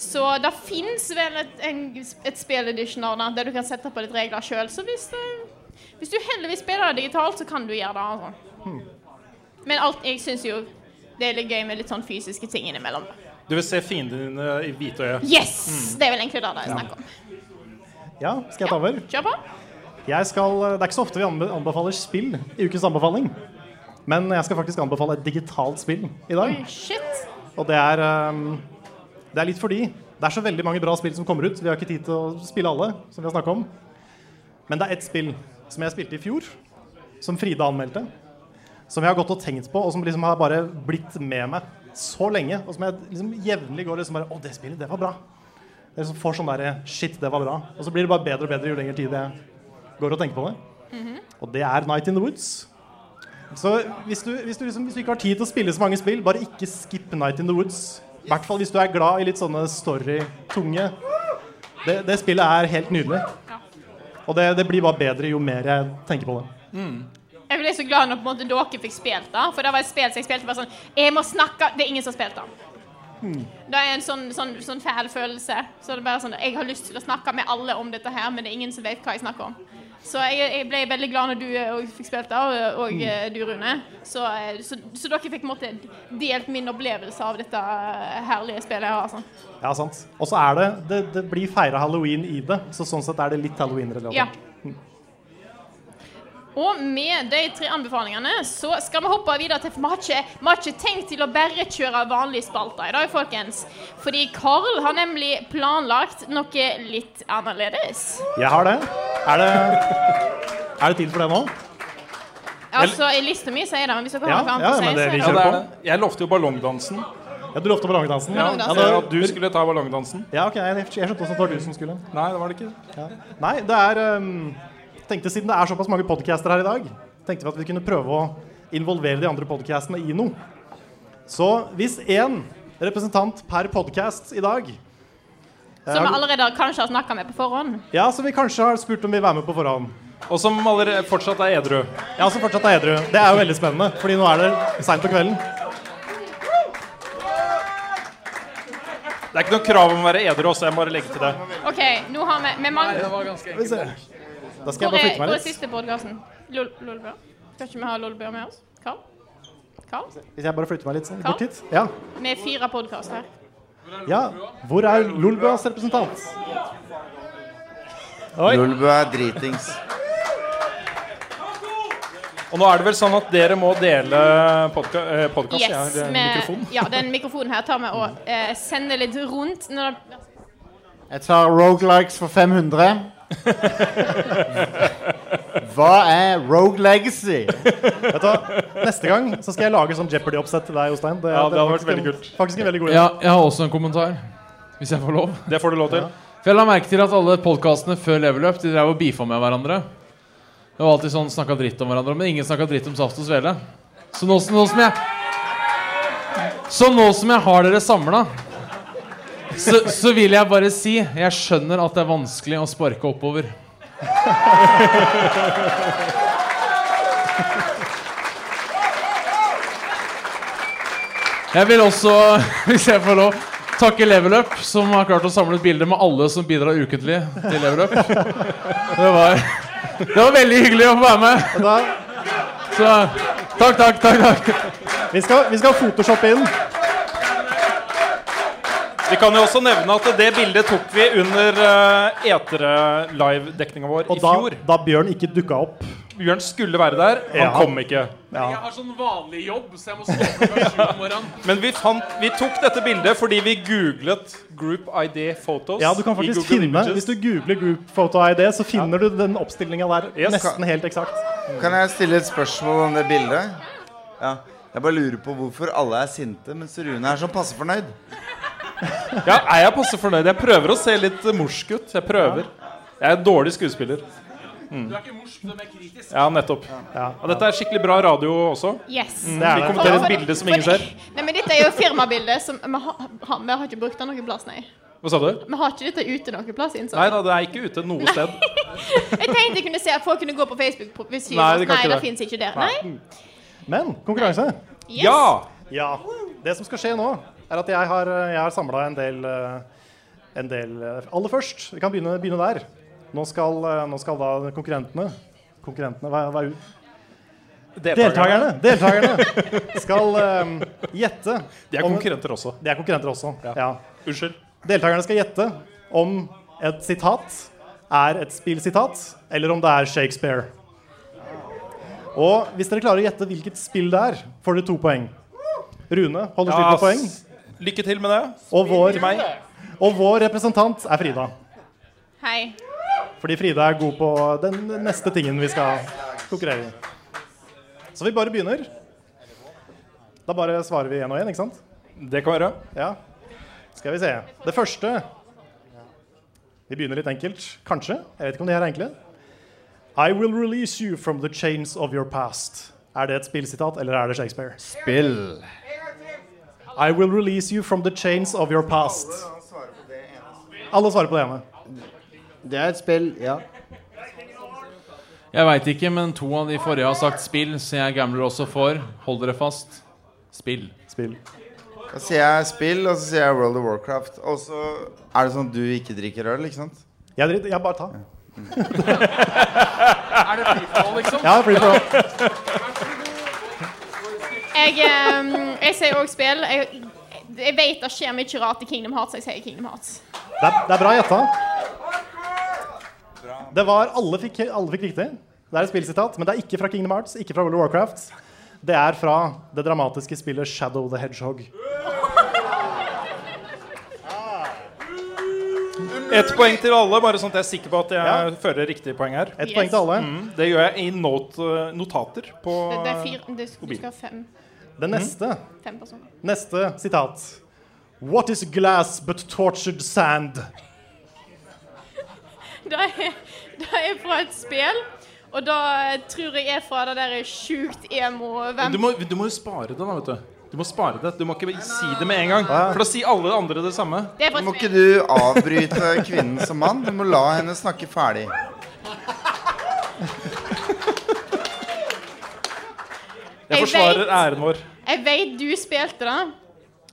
B: Så det fins vel et, en, et spilledition av det, der du kan sette på litt regler sjøl. Så hvis du, hvis du heldigvis spiller det digitalt, så kan du gjøre det. Altså. Men alt, jeg syns jo det er litt gøy med litt sånn fysiske ting innimellom.
C: Du vil se fiendene dine i hvitøyet.
B: Yes! Det er vel egentlig det det er snakk om.
D: Ja, skal jeg ta over?
B: Kjør på.
D: Jeg skal, eh, det er ikke så ofte vi anbe- anbefaler spill i ukens anbefaling. Men jeg skal faktisk anbefale et digitalt spill i dag.
B: Shit.
D: Og det er, ehm, det er litt fordi det er så veldig mange bra spill som kommer ut. Vi har ikke tid til å spille alle, som vi har snakket om. Men det er ett spill som jeg spilte i fjor, som Frida anmeldte. Som jeg har gått og tenkt på, og som liksom har bare blitt med meg så lenge. Og som jeg liksom jevnlig går liksom bare Å, det spillet, det var bra. Jeg liksom får sånn derre Shit, det var bra. Og så blir det bare bedre og bedre jo lenger tid jeg går og tenker på det. Og det er Night in the Woods. Så hvis du, hvis, du liksom, hvis du ikke har tid til å spille så mange spill, bare ikke skip Night in the Woods. I hvert fall hvis du er glad i litt sånne story-tunge. Det, det spillet er helt nydelig. Og det, det blir bare bedre jo mer jeg tenker på det.
B: Jeg ble så glad når på en måte dere fikk spilt det. For det var et spill som jeg spilte bare sånn Jeg må snakke Det er ingen som har spilt det. Det er en sånn, sånn, sånn fæl følelse. Så det er bare sånn Jeg har lyst til å snakke med alle om dette her, men det er ingen som vet hva jeg snakker om. Så jeg, jeg ble veldig glad når du eh, også fikk spilt det, og, og eh, du, Rune. Så, eh, så, så dere fikk på en måte delt min opplevelse av dette eh, herlige spillet jeg har. Altså.
D: Ja, sant. Og så er det Det, det blir feira halloween i det, så sånn sett er det litt halloween-relatert.
B: Ja. Og med de tre anbefalingene så skal vi hoppe videre til For vi har ikke, vi har ikke tenkt til å bare kjøre vanlige spalter i dag, folkens. Fordi Karl har nemlig planlagt noe litt annerledes.
D: Jeg har det. Er det Er det tid for det nå?
B: Altså, i lista mi sier det, men hvis dere
D: Ja,
B: har noe
D: ja,
B: annet
D: men det
B: å
D: vi
B: si,
D: kjører
B: så er
C: Ja, det
B: det
C: er det. Jeg lovte jo ballongdansen.
D: Ja, du lovte ballongdansen?
C: Ja,
B: Ballongdansen.
D: Ja,
C: det var
D: da-
C: at du skulle ta ballongdansen.
D: ja, ok, jeg, jeg skjønte også at det var du som skulle.
C: Nei, det var det ikke.
D: Ja. Nei, det er ehm, tenkte Siden det er såpass mange podcaster her i dag, tenkte vi at vi kunne prøve å involvere de andre podcastene i noe. Så hvis én representant per podcast i dag
B: Som vi allerede har- kanskje har snakka med på forhånd.
D: Ja, som vi kanskje har spurt om vil være med på forhånd.
C: Og som allerede fortsatt er edru.
D: Ja, som fortsatt er edru. Det er jo veldig spennende, fordi nå er det seint på kvelden.
C: Det er ikke noe krav om å være edru også, jeg må bare legge til det.
B: OK, nå har vi Vi mangler
D: Skal vi se. Da skal jeg
B: Hvor er,
D: bare flytte
B: hvor
D: meg
B: er
D: litt.
B: siste podkasten? Lolbua? Skal ikke vi ha Lolbua med oss? Karl? Karl?
D: Hvis jeg bare flytter meg litt sånn
B: Karl?
D: bort hit. Ja.
B: Vi er fire podkaster her.
D: ja. Hvor er Lolbuas representant?
E: Lulbu er dritings.
C: Og nå er det vel sånn at dere må dele podka eh, podcast, ja,
B: Yes,
C: eller
B: med,
C: mikrofon.
B: ja, den mikrofonen her tar vi og eh, sender litt rundt. Når det,
F: Jeg tar rogelikes for 500. Hva er Rogue Legacy?
D: Vet du, hva? neste gang så skal jeg lage sånn Jeopardy-oppsett til deg, Jostein.
C: Ja, det
D: er
C: hadde vært
D: faktisk en-
C: veldig kult.
D: Faktisk en veldig god idé.
G: Ja, jeg har også en kommentar. Hvis jeg får lov.
C: Det får du lov til.
G: For jeg la merke til at alle podkastene før Level Up De drev og beefa med hverandre. Det var alltid sånn snakka dritt om hverandre, men ingen snakka dritt om Saft og Svele. Så nå, som- nå som jeg Så nå som jeg har dere samla, så, så vil jeg bare si Jeg skjønner at det er vanskelig å sparke oppover. Jeg vil også, hvis jeg får lov, takke Level Up, som har klart å samle et bilde med alle som bidrar ukentlig til Level Up. Det var, det var veldig hyggelig å få være med. Så takk, takk, takk. takk.
D: Vi skal, vi skal photoshoppe inn.
C: Vi kan jo også nevne at det bildet tok vi under uh, Etere-live-dekninga vår i
D: Da,
C: fjor.
D: da Bjørn ikke dukka opp.
C: Bjørn skulle være der, han
D: Ja.
C: kom ikke.
G: Jeg har sånn vanlig jobb, så jeg må stå opp klokka sju om morgenen.
C: Men vi, fant, vi tok dette bildet fordi vi googlet Group ID Photos.
D: Ja, du kan
C: i
D: faktisk
C: Google
D: finne
C: Images.
D: Hvis du googler Group Photo ID, så finner du den oppstillinga der
C: Yes.
D: nesten helt eksakt.
E: Kan jeg stille et spørsmål om det bildet? Ja. Jeg bare lurer på hvorfor alle er sinte, mens Rune er sånn passe fornøyd.
C: Ja, er jeg passe fornøyd? Jeg prøver å se litt eh, morsk ut. Jeg prøver. Jeg er en dårlig skuespiller. Mm.
G: Du er ikke morsk, du er mer kritisk.
C: Ja, nettopp. Og dette er skikkelig bra radio også.
B: Yes.
C: Mm, vi kommenterer et bilde som ingen ser.
B: Nei, men Dette er jo firmabildet. Som, vi, har, har- vi har ikke brukt det noen plass, nei.
C: Hva sa du?
B: Vi har ikke dette ute noen plass. innså
C: Nei
B: jeg.
C: da, det er ikke ute noe sted.
B: Jeg tenkte jeg kunne se at folk kunne gå på Facebook. pro- Hvis de- sånn.
C: Nei, det kan
B: nei,
C: ikke
B: det
C: det.
B: fins ikke der.
C: Nei.
B: Nei?
D: Men konkurranse.
B: Yes.
C: Ja!
D: Ja. Det som skal skje nå, er at jeg har, jeg har samla en del eh, En del eh, Aller først, vi kan begynne, begynne der. Nå skal, eh, nå skal da konkurrentene Konkurrentene, hva, hva er ut? Deltakerne! Deltakerne skal eh, gjette
C: De er
D: om-
C: konkurrenter også.
D: De er konkurrenter også. Ja.
C: Unnskyld.
D: Deltakerne skal gjette om et sitat er et spillsitat, eller om det er Shakespeare. Og hvis dere klarer å gjette hvilket spill det er, får dere to poeng. Rune holder styr
C: Ja,
D: på poeng,
C: s- Lykke til med det.
D: og vår,
C: Til meg.
D: og vår representant er Frida.
B: Hei.
D: Fordi Frida er god på den neste tingen vi skal konkurrere i. Så vi bare begynner. Da bare svarer vi én og én, ikke sant?
C: Det kan være.
D: Ja. Skal vi se. Det første Vi begynner litt enkelt. Kanskje. Jeg vet ikke om de her er enkle. I will release you from the chains of your past. Er det et spillsitat, eller er det Shakespeare?
F: Spill.
D: I will release you from the chains of your past. Alle svarer på det ene.
F: Det er et spill, ja.
G: Jeg veit ikke, men to av de forrige har sagt spill, så jeg gambler også for. Hold dere fast. Spill.
D: Spill.
E: Da sier jeg spill, og så sier jeg World of Warcraft. Og så er det sånn at du ikke drikker øl, ikke sant?
D: Jeg driter. Jeg bare tar.
G: Er det freefall, liksom?
D: Ja, free for all.
B: Jeg, eh, jeg sier òg spill. Jeg, jeg vet det skjer mye rart i Kingdom Hearts, så jeg sier Kingdom Hearts.
D: Det er, det er bra gjetta. Det var alle fikk, alle fikk riktig. Det er et spillsitat, men det er ikke fra Kingdom Hearts, ikke fra World of Warcraft. Det er fra det dramatiske spillet Shadow the Hedgehog.
C: Ett poeng til alle, bare sånn at jeg er sikker på at jeg
D: Ja.
C: fører riktig poeng her.
D: Ett
B: Yes.
D: poeng til alle.
C: Det gjør jeg i note, notater på
B: Det, det er fire, det, du skal ha fem,
D: Det neste,
B: fem personer.
D: neste sitat. What is glass but tortured sand?
B: Det er, det er fra et spill, og da tror jeg er fra det der sjukt emo hvem,
C: Du må, du må jo spare det, da, vet du. Du må spare det. Du må ikke si det med en gang. For da sier alle andre det samme.
B: Det er fra
E: Må
B: et
E: ikke
B: spill.
E: du avbryte kvinnen som mann? Du må la henne snakke ferdig.
C: Jeg
B: Jeg
C: forsvarer
B: vet.
C: æren vår.
B: Jeg vet du spilte det,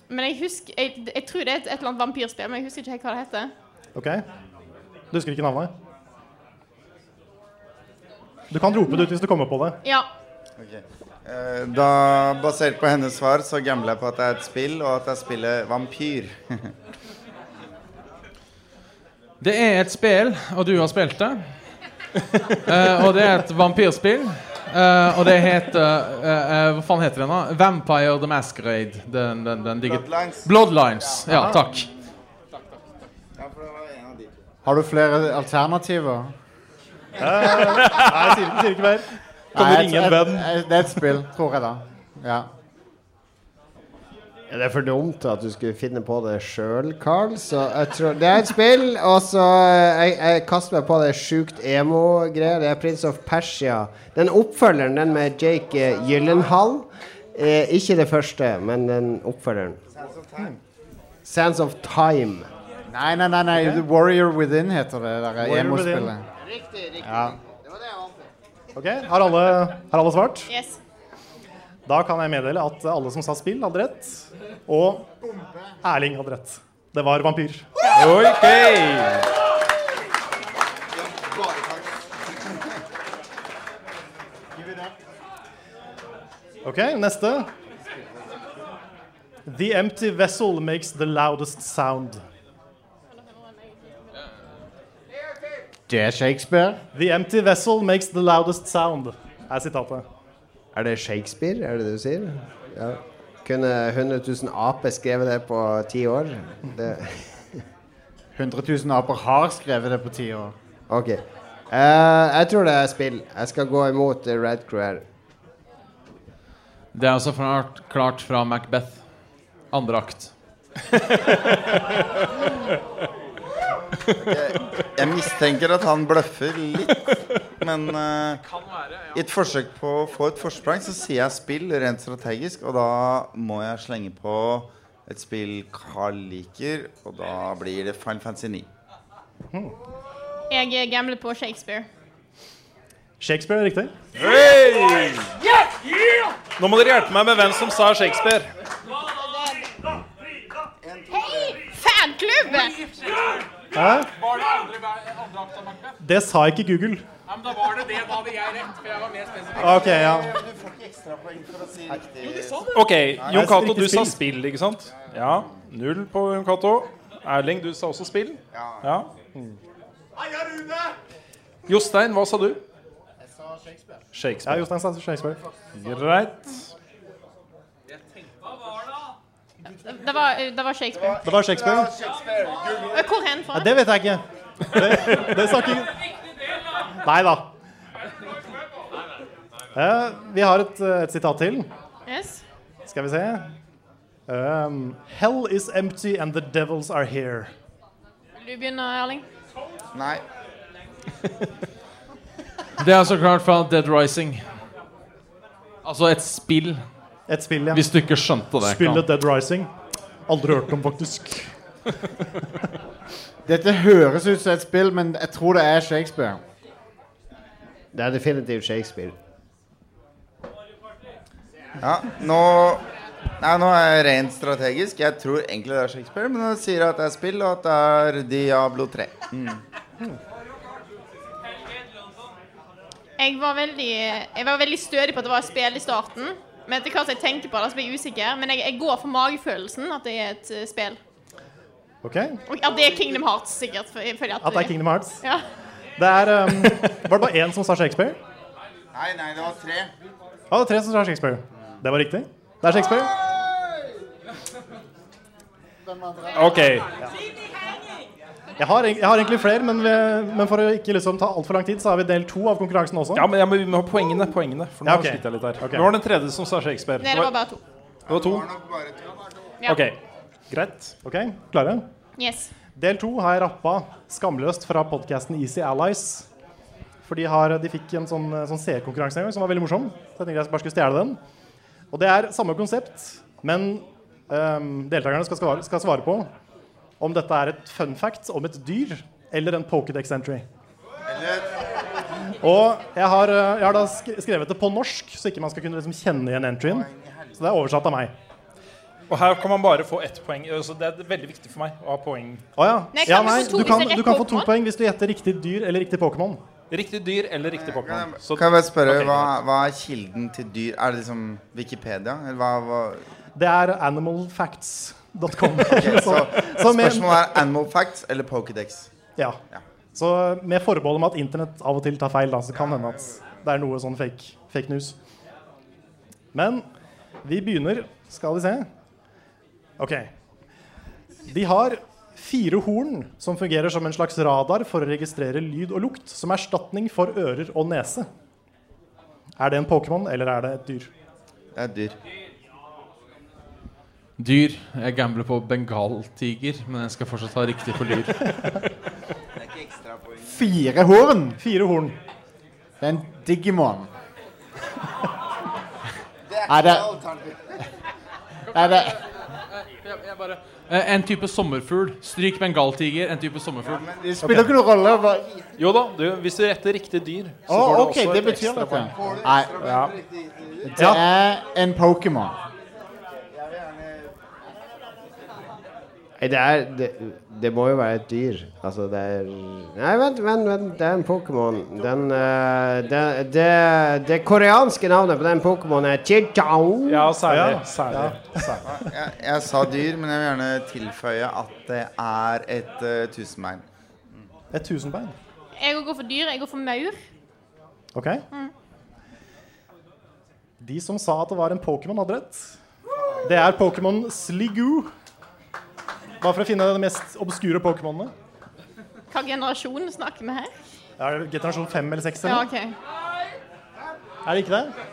B: men jeg husker Jeg, jeg tror det er et, et eller annet vampyrspill, men jeg husker ikke helt hva det heter.
D: Ok? Du husker ikke navnet? Du kan rope det ut hvis du kommer på det.
B: Ja.
E: Ok. Eh, Da, basert på hennes svar, så gambler jeg på at det er et spill, og at det er spillet Vampyr.
G: Det er et spill, og du har spilt det. Eh, og det er et vampyrspill. Eh, og det heter eh, eh, Hva faen heter den, da? Vampire the Masquerade. Den, den, den digge-
E: Bloodlines.
G: Bloodlines. Ja, takk.
E: Ja, for det var en av
F: Har du flere alternativer?
D: Eh, nei, sier, sier ikke mer. Kan du
F: Nei,
D: ringe
F: et-
D: en venn?
F: et- et- Det er et spill, tror jeg, da. Ja.
H: Ja, Det er for dumt at du skulle finne på det sjøl, Carl. Så jeg tror Det er et spill, og så eh, jeg, jeg kaster meg på det sjukt emo-greier. Det er Prince of Persia. Den oppfølgeren, den med Jake eh, Gyllenhaal. Eh, ikke det første, men den oppfølgeren. Sands of Time.
F: Nei, nei, nei, nei. The Warrior Within heter det der
D: Warrior
F: emo-spillet. Ja.
D: Ok, har alle, har alle svart?
B: Yes.
D: Da kan jeg meddele at alle som sa spill, hadde rett. Og Erling hadde rett. Det var vampyr.
A: Ok!
D: Ok, neste. The empty vessel makes the loudest sound.
F: Det er Shakespeare.
D: The empty vessel makes the loudest sound, er sitatet.
H: Er det Shakespeare, er det det du sier? Ja. Kunne 100 000 aper skrevet det på ti år? Det
F: 100 000 aper har skrevet det på ti år.
H: OK. Eh, jeg tror det er spill. Jeg skal gå imot eh, Red Crew her.
G: Det er også klart, klart fra Macbeth. Andre akt.
E: Jeg mistenker at han bløffer litt, men eh, i et forsøk på å få et forsprang, så sier jeg spill rent strategisk, og da må jeg slenge på et spill Carl liker, og da blir det Final Fantasy 9.
B: Jeg gambler på Shakespeare.
D: Shakespeare er riktig.
C: Hey! Nå må dere hjelpe meg med hvem som sa Shakespeare.
B: Hei, fanklubb!
D: Hæ?
I: Var det andre, andre akt av Macbeth?
D: Det sa ikke Google.
I: Ja, men da var det det. Da hadde jeg rett, for jeg var mer spesifikk.
D: Ok, ja.
E: Du får ikke ekstrapoeng for å si riktig. Jo, de
C: Ok, Jon Cato, du sa spill, ikke sant? Ja. Null på Jon Cato. Erling, du sa også spill? Ja. Jostein, hva sa du?
D: Ja,
C: Shakespeare.
D: Jostein sa Shakespeare.
C: Greit.
B: Det var, det var Shakespeare.
D: Det var Shakespeare.
B: Eh, Hvor hen fra?
D: Nei, det vet jeg ikke. Det, det sa ikke Nei da. Eh, vi har et, eh, et sitat til.
B: Yes.
D: Skal vi se. Um, Hell is empty and the devils are here.
B: Vil du begynne, Erling?
E: Nei.
G: Det er så klart fra Dead Rising. Altså et spill.
D: Et spill, ja.
G: Hvis du ikke skjønte det.
D: Spillet
G: Karl.
D: Dead Rising. Aldri hørt om, faktisk.
F: Dette høres ut som et spill, men jeg tror det er Shakespeare.
H: Det er definitivt Shakespeare.
E: Ja, nå Nei, nå er jeg rent strategisk. Jeg tror egentlig det er Shakespeare, men jeg sier at det er spill, og at det er Diablo 3. Mm.
B: Jeg var veldig, jeg var veldig stødig på at det var et spill i starten. Men etter hvert som jeg tenker på det, så blir jeg usikker. Men jeg, jeg går for magefølelsen at det er et eh, spill.
D: Ok, At
B: Og at det er Kingdom Hearts, sikkert. For, for at,
D: det er Kingdom Hearts.
B: Ja.
D: Det er um, Var det bare én som sa Shakespeare?
E: Nei, nei, det var tre.
D: Ja, det er tre som sa Shakespeare. Det var riktig. Det er Shakespeare.
C: Ok.
D: Jeg har, eng- jeg har egentlig flere, men, vi, men for å ikke liksom ta altfor lang tid, så har vi del to av konkurransen også.
C: Ja, men jeg må, vi må ha poengene. poengene For nå
D: Ja, ok.
C: sliter jeg litt her.
D: Ok.
C: Det var den tredje som sa Shakespeare.
B: Nei, det var bare to.
C: Det var to.
B: Ja.
C: Ok. Greit.
D: Ok, klare?
B: Yes.
D: Del to har jeg rappa skamløst fra podkasten Easy Allies. For de, har, de fikk en sånn, sånn seerkonkurranse en gang som var veldig morsom. Så jeg tenkte jeg bare skulle stjele den. Og det er samme konsept, men ehm, deltakerne skal svare, skal svare på om dette er et fun fact om et dyr eller en Pokédex entry. Og jeg har, eh, jeg har da sk- skrevet det på norsk, så ikke man skal kunne liksom kjenne igjen entryen. Så det er oversatt av meg.
C: Og her kan man bare få ett poeng. Eh, Så det er veldig viktig for meg å ha poeng.
D: Å ja.
C: Nei, kan
D: ja
C: vi
D: nei,
C: få to
D: du
C: hvis
D: kan,
C: det er rett
D: du kan få to
C: Pokémon?
D: poeng hvis du gjetter riktig dyr eller riktig Pokémon.
C: Riktig dyr eller riktig Pokémon. Så-
E: Kan jeg bare spørre,
C: Ok,
E: hva,
C: greit.
E: hva er kilden til dyr? Er det liksom Wikipedia? Eller hva, hva?
D: Det er animalfacts.com.
E: Ok, så,
D: så med-
E: spørsmålet er Animal Facts eller Pokédex?
D: Ja. Så med forbehold om at internett av og til tar feil, da, så kan hende at det er noe sånn fake, fake news. Men vi begynner Skal vi se. OK. De har Fire horn som fungerer som en slags radar for å registrere lyd og lukt, som erstatning for ører og nese. Er det en Pokémon, eller er det et dyr?
E: Det er et dyr.
G: Dyr. Jeg gambler på bengaltiger, men jeg skal fortsatt ha riktig for dyr.
F: Fire horn?
D: Fire horn.
F: Det er en Digimon. Er det Er det
G: Jeg- jeg bare- Eh, En type sommerfugl. Stryk bengaltiger, en type sommerfugl.
F: det spiller ikke noen rolle. hva-
C: Jo da, du, hvis du retter riktig dyr, så
F: Å,
C: får du
F: ok,
C: også
F: det
C: et
F: betyr
C: ekstra
F: dette.
C: poeng.
F: Nei.
C: Ja.
F: Det er Eh, en Pokémon.
H: Nei, det er det, det må jo være et dyr. Altså, det er Nei, vent, vent, vent. Det er en Pokémon. Den eh, det, det, det koreanske navnet på den Pokémonen er Chichao.
C: Ja, særlig.
H: Ja.
C: særlig. særlig.
E: Jeg, jeg sa dyr, men jeg vil gjerne tilføye at det er et uh, tusenbein.
D: Et tusenbein?
B: Jeg går for dyr. Jeg går for maur.
D: Ok?
B: Mm.
D: De som sa at det var en Pokémon, hadde rett. Det er Pokémon Sligoo. Bare for å finne de mest obskure Pokémonene.
B: Hva generasjon snakker vi her?
D: Er det generasjon fem eller seks?
B: Ja,
D: eller?
B: ok.
D: Er det ikke det?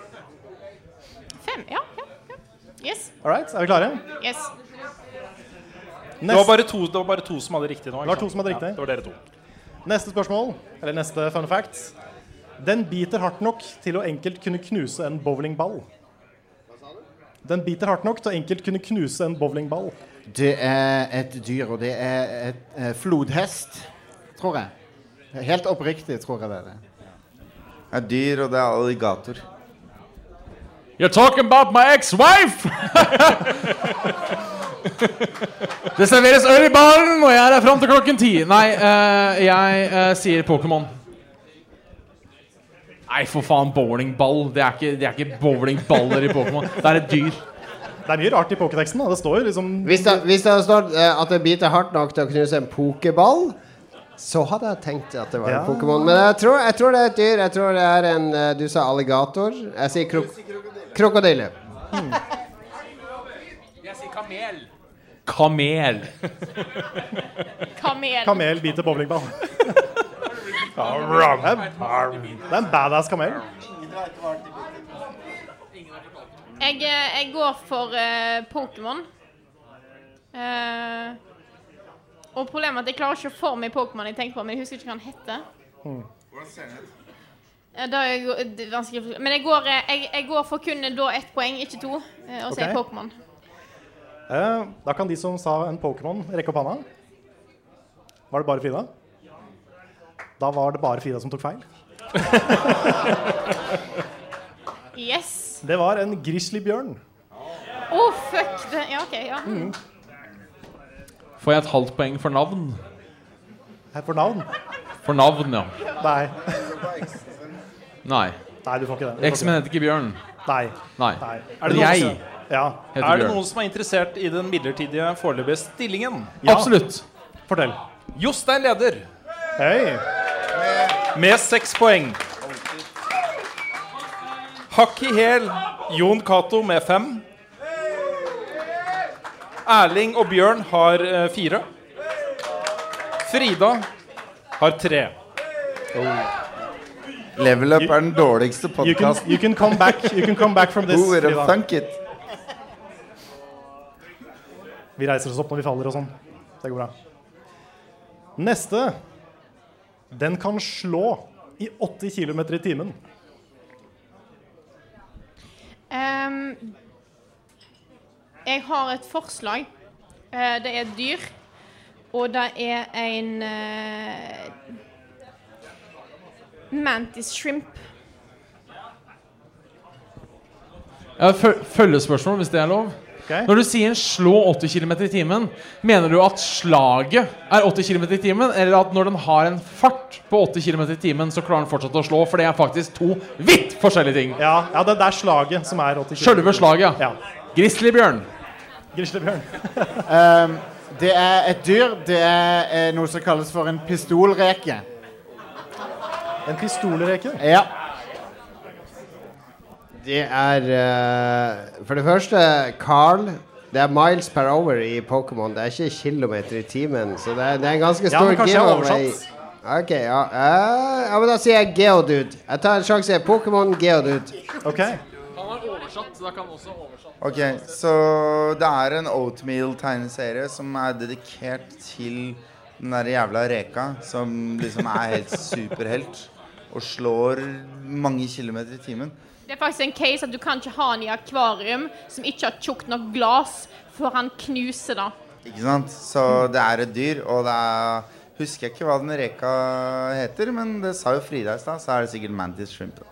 B: Fem? Ja. ja, ja. Yes.
D: All right, er vi klare?
B: Yes.
C: Det, var bare to, det var bare to som hadde riktig nå.
D: Det var
C: ikke
D: to som hadde
C: sant?
D: riktig.
C: Ja, det var dere to.
D: Neste spørsmål, eller neste fun fact. Den biter hardt nok til å enkelt kunne knuse en bowlingball. Den biter hardt nok til å enkelt kunne knuse en bowlingball.
F: Det er et dyr, og det er et, eh, flodhest, tror jeg. Helt oppriktig tror jeg det er det.
E: Det er dyr, og det er alligator.
G: You're talking about my ex-wife! det serveres øl i baren, og jeg er her fram til klokken ti. Nei, eh, jeg eh, sier Pokémon. Nei, for faen, bowlingball. Det er ikke, det er ikke bowlingballer i Pokémon. Det er et dyr.
D: Det er mye rart i pokéteksten. da. Det står jo liksom
H: Hvis det, hvis det hadde stått eh, at det biter hardt nok til å knuse en pokeball, så hadde jeg tenkt at det var
D: Ja.
H: en Pokémon. Men jeg tror, jeg tror det er et dyr. Jeg tror det er en eh, Du sa alligator. Jeg sier krok krokodille.
I: Jeg sier kamel.
G: Kamel.
I: Kamel.
D: Kamel biter bowlingball. Det er en badass kamel.
B: Jeg, eh, jeg går for eh, Pokémon. Eh, og problemet er at jeg klarer ikke å få meg Pokémon jeg tenker på, men jeg husker ikke hva han heter.
D: Hmm.
E: Hvordan ser den ut?
B: Eh, Da er jeg, go- det er vanskelig å forstå. Men jeg går, eh, jeg, jeg går for kun da ett poeng, ikke to, eh, og så er jeg
D: Ok.
B: Pokémon.
D: Eh, Da kan de som sa en Pokémon, rekke opp handa. Var det bare Frida? Da var det bare Frida som tok feil.
B: Yes.
D: Det var en grizzlybjørn.
B: Å, fuck! Det. Ja, OK. Ja.
G: Får jeg et halvt poeng for navn?
D: Her for navn?
G: For navn, ja.
D: Nei.
G: Nei.
D: Nei, du får ikke det. Du får ikke
G: X-Men heter ikke Bjørn.
D: Nei.
G: Nei.
C: Er det
G: Men
C: noen
G: jeg
C: som-
G: heter
C: Er det
G: Bjørn.
C: noen som er interessert i den midlertidige foreløpige stillingen?
G: Ja. Absolutt.
D: Fortell.
C: Jostein leder.
D: Hei.
C: Med seks poeng. Hakk i hæl Jon Cato med fem. Erling og Bjørn har eh, fire. Frida har tre.
E: Level Up er den dårligste
D: You can,
E: podkasten.
D: you can come back You can come back from this.
E: Who would have
D: Frida.
E: thunk it?
D: Vi reiser oss opp når vi faller og sånn. Det går bra. Neste. Den kan slå i 80 km i timen.
B: Ehm, jeg har et forslag. Eh, det er et dyr, og det er en eh, Mantis shrimp.
G: Jeg har føl- følgespørsmål, hvis det er lov. Når du sier 'slå 80 km i timen', mener du at slaget er 80 km i timen, eller at når den har en fart på 80 km i timen, så klarer den fortsatt å slå? For det er faktisk to vidt forskjellige ting.
D: Ja, ja det, det er slaget som er 80 km.
G: Sjølve slaget, ja. Grizzlybjørn.
D: Grislebjørn.
F: Ehm, det er et dyr. Det er eh, noe som kalles for en pistolreke.
D: En pistolreke?
F: Ja.
H: Det er eh, For det første Carl Det er miles per hour i Pokémon. Det er ikke kilometer i timen, så det er, det er en ganske
D: Ja,
H: stor
D: men kanskje jeg har
H: giveaway.
D: oversatt.
H: Ok, ja. Eh, ja, men da sier jeg Geodude. Jeg tar en sjanse. Pokémon Geodude.
I: Han har oversatt, så da kan han også oversatt.
E: Ok, så det er en oatmeal-tegneserie som er dedikert til den der jævla reka som liksom er helt superhelt og slår mange kilometer i timen.
B: Det er faktisk en case at du kan ikke ha han i akvarium som ikke har tjukt nok glass, for han knuser det.
E: Ikke sant? Så det er et dyr, og det er Husker jeg ikke hva den reka heter, men det sa jo Frida i stad, så er det sikkert Mantis Shrimp. da.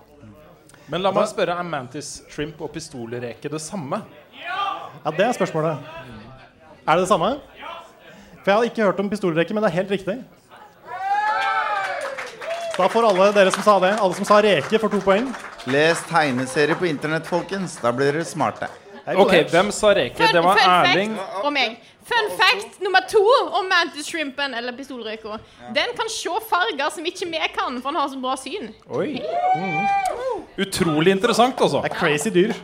C: Men la meg spørre, er mantis shrimp og pistolreke det samme?
D: Ja, det er spørsmålet. Er det det samme? For jeg har ikke hørt om pistolrekke, men det er helt riktig. Så da får alle dere som sa det, alle som sa reke, får to poeng.
E: Les tegneserier på internett, folkens. Da blir dere smarte.
C: Ok, hvem sa reke?
B: Fun, fun fact om meg. Fun fact nummer to om mantis shrimpen eller pistolrøyka. Den kan se farger som ikke vi kan, for han har så bra syn.
C: Oi. Mm. Utrolig interessant, altså. Det
D: er crazy dyr.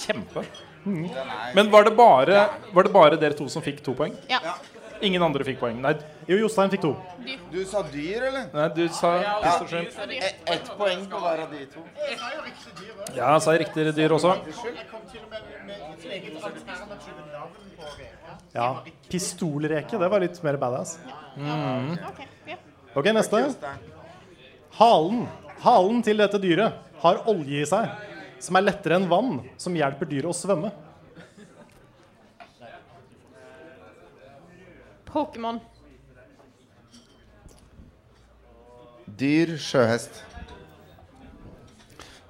C: Kjempe. Men var det, bare, var det bare dere to som fikk to poeng?
B: Ja.
C: Ingen andre fikk poeng? Nei,
D: jo, Jostein fikk to.
E: Du sa dyr, eller?
C: Nei, du sa
E: Ja,
C: pistol shrimp.
E: e- Ett poeng på hver av de to.
C: Ja, sa jeg riktig dyr også?
D: Ja. Pistolreke, det var litt mer badass.
C: Mm.
D: Ok, neste. Halen. Halen til dette dyret har olje i seg, som er lettere enn vann, som hjelper dyret å svømme.
B: Pokémon.
E: Dyr sjøhest.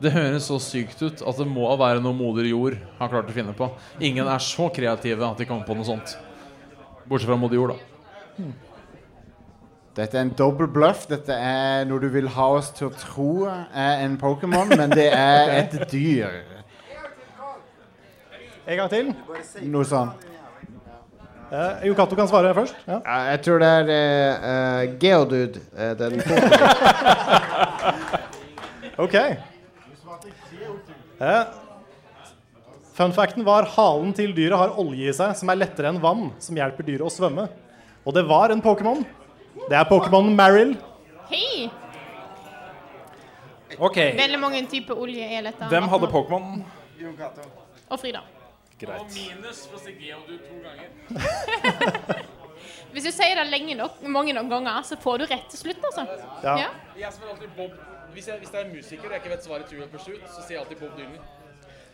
G: Det høres så sykt ut at det må være noe moder jord har klart å finne på. Ingen er så kreative at de kommer på noe sånt. Bortsett fra moder jord, da.
F: Dette er en dobbel bløff. Dette er noe du vil ha oss til å tro er en Pokémon, men det er et dyr.
D: En gang til.
F: Noe sånn. sånt.
D: Eh, Jon Cato kan svare først. Ja.
H: Ja, jeg tror det er eh, eh, Geodude. eh, den
D: Ok. Eh, fun facten var halen til dyret har olje i seg, som er lettere enn vann, som hjelper dyret å svømme. Og det var en Pokémon. Det er Pokémon Marill.
B: Hei!
C: Ok.
B: Veldig mange typer olje er lett av
C: Hvem hadde
B: vann.
C: Pokémon?
B: Og Frida.
I: Og minus for å si Geodude to ganger.
B: Hvis du sier det lenge nok, mange nok ganger, så får du rett til slutt, altså. Ja.
I: Jeg spør alltid Bob hvis, jeg, hvis det er en musiker og jeg ikke vet svaret til Trivial Pursuit, så sier jeg alltid Bob Dylan.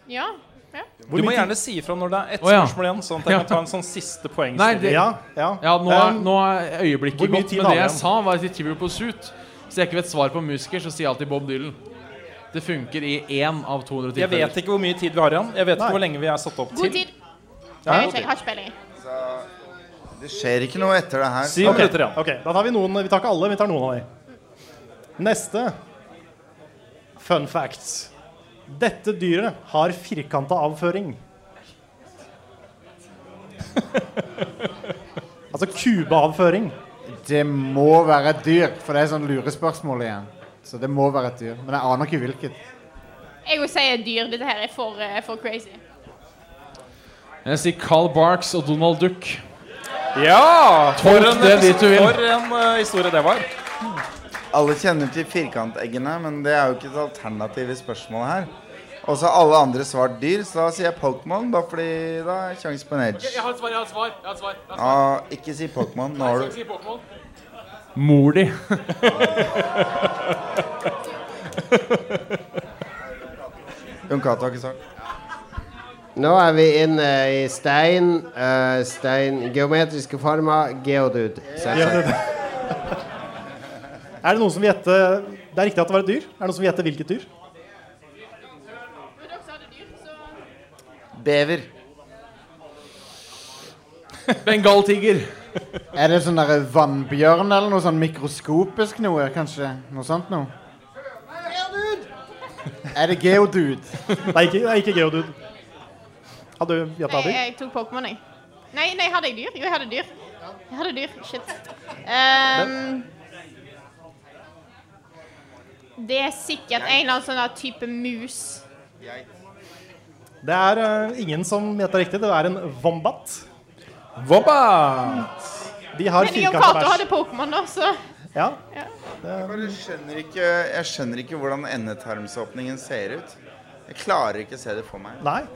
B: Ja. ja.
C: Du må gjerne si ifra når det er ett
G: Å, ja.
C: spørsmål igjen, sånn at jeg kan ta en sånn siste poeng.
G: Nei, det, nå,
D: Eh,
G: er, nå er
C: Um, Hvor
G: øyeblikket
C: mye
G: gått,
C: tid
G: men
C: har vi
G: det jeg
C: igjen?
G: sa, var til Trivial Pursuit. Så jeg ikke vet svar på musiker, så sier jeg alltid Bob Dylan. Det funker i én av 200
C: Jeg vet ikke hvor mye tid vi har igjen. Jeg vet ikke hvor lenge vi er satt opp
B: God
C: til.
B: tid.
C: Ja.
B: Jeg vet ikke, jeg har ikke peiling.
E: Det skjer ikke noe etter det her.
D: Syv Ok, minutter igjen. ok, Da tar vi noen. Vi tar ikke alle, vi tar noen av dem. Neste fun facts. Dette dyret har firkanta avføring. altså kubeavføring.
F: Det må være et dyr, for det er sånn lurespørsmål igjen. Så det må være et dyr. Men jeg aner ikke hvilket.
B: Jeg vil si dyr. Dette her er for, eh, for crazy.
G: Jeg sier Carl Barks og Donald Duck.
C: Ja!
G: Tolk det dit du vil.
C: For en eh, historie det var.
E: Alle kjenner til firkanteggene, men det er jo ikke et alternativ i spørsmålet her. Og så har alle andre svart dyr, så da sier jeg Pokémon, bare fordi da er sjanse på en
I: Ok, jeg
E: edge.
I: har et svar, jeg har et svar. Jeg har et svar. Jeg har et svar.
E: Ja, ikke si Pokémon. Nå har
I: Jeg skal
E: du
I: si Pokémon.
G: Mor di.
E: Jon Cato har ikke svart.
H: Nå er vi inne i stein. eh, stein Geometriske former. Geodude. Så jeg sier-
D: Er det noen som vil gjette Det er riktig at det var et dyr. Er det noen som vil gjette hvilket dyr?
E: Bever.
G: Bengaltiger.
F: Er det sånn der vannbjørn eller noe sånn mikroskopisk noe? Kanskje noe sånt noe? Er det geodude?
D: Nei, ikke, nei, ikke geodude. Hadde du gjetta
B: Nei,
D: dyr?
B: jeg tok Pokémon, jeg. Nei, nei, hadde jeg dyr? Jo, jeg hadde dyr. Jeg hadde dyr. Shit. Ehm, det er sikkert en eller annen sånn der type mus.
D: Det er eh, ingen som gjetter riktig. Det er en wombat.
C: Wombat!
D: De har
B: Men Jon
D: firkanta
B: Cato
D: bæsj.
B: hadde Pokémon, da, så
D: Ja.
E: Jeg bare skjønner ikke, jeg skjønner ikke hvordan endetarmsåpningen ser ut. Jeg klarer ikke å se det for meg.
D: Nei.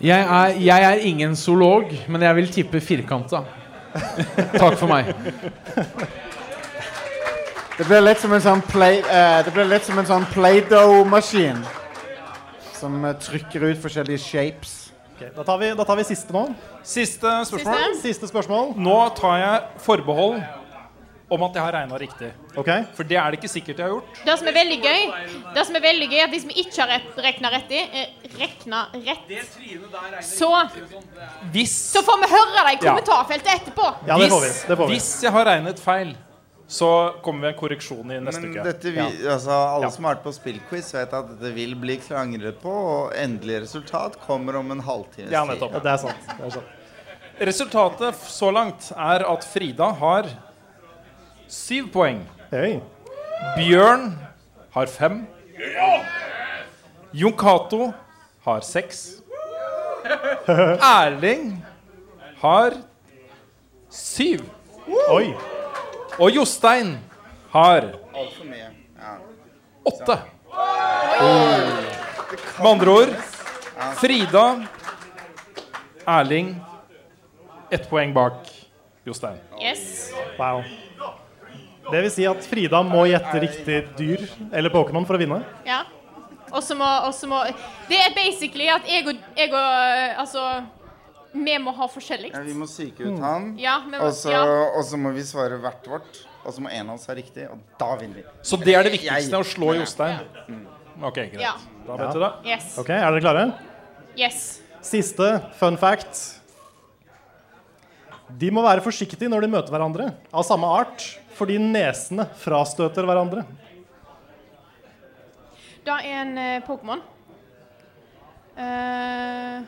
G: Jeg er, jeg er ingen zoolog, men jeg vil tippe firkanta. Takk for meg.
F: Det blir litt som en sånn play eh, Det blir litt som en sånn Play-Doh-maskin. Som eh, trykker ut forskjellige shapes.
D: Ok, da, tar vi, da tar vi siste nå.
C: Siste spørsmål.
D: Siste. Siste spørsmål.
C: Nå tar jeg forbehold om at jeg har regna riktig.
D: Ok.
C: For det er det ikke sikkert jeg har gjort.
B: Det som er veldig gøy, det som er veldig gøy er at hvis vi ikke har rett, regna rett i eh, Regna rett Så
C: Hvis
B: Så får vi høre det i
C: Ja.
B: kommentarfeltet etterpå.
C: hvis, hvis jeg har regnet feil, så kommer vi en korreksjon i neste
E: Men
C: uke.
E: dette vi,
C: Ja.
E: altså, alle som har vært på spillquiz, vet at dette vil bli klangret på, og endelig resultat kommer om en halvtimes
C: Ja, nettopp.
D: Det er sant. Det er sant.
C: Resultatet f- så langt er at Frida har syv poeng. Bjørn har fem. Jon Cato har seks. Erling har syv.
D: Oi.
C: Og Jostein har
E: Altfor mye. Ja.
C: åtte. Med andre ord Frida, Erling Ett poeng bak Jostein.
B: Yes.
D: Wow. Det vil si at Frida må gjette riktig dyr eller Pokémon for å vinne.
B: Ja. Og så må, og så må Det er basically at jeg og, jeg og eh, Altså Vi må ha forskjellig.
E: Ja, vi må psyke
F: Mm.
E: ut han,
B: Ja, men-
E: og, så,
B: ja.
E: og så må vi svare hvert vårt. Og så må en av oss ha riktig, og da vinner vi.
C: Så det er det
E: Jeg-
C: viktigste, å slå
E: Ja.
C: Jostein? Ok, greit.
B: Ja.
C: Da vet
D: Ja.
C: du det.
B: Yes.
D: Ok, Er dere klare?
B: Yes.
D: Siste fun fact. De må være forsiktige når de møter hverandre av samme art, fordi nesene frastøter hverandre.
B: Da er en eh, Pokémon. Eh,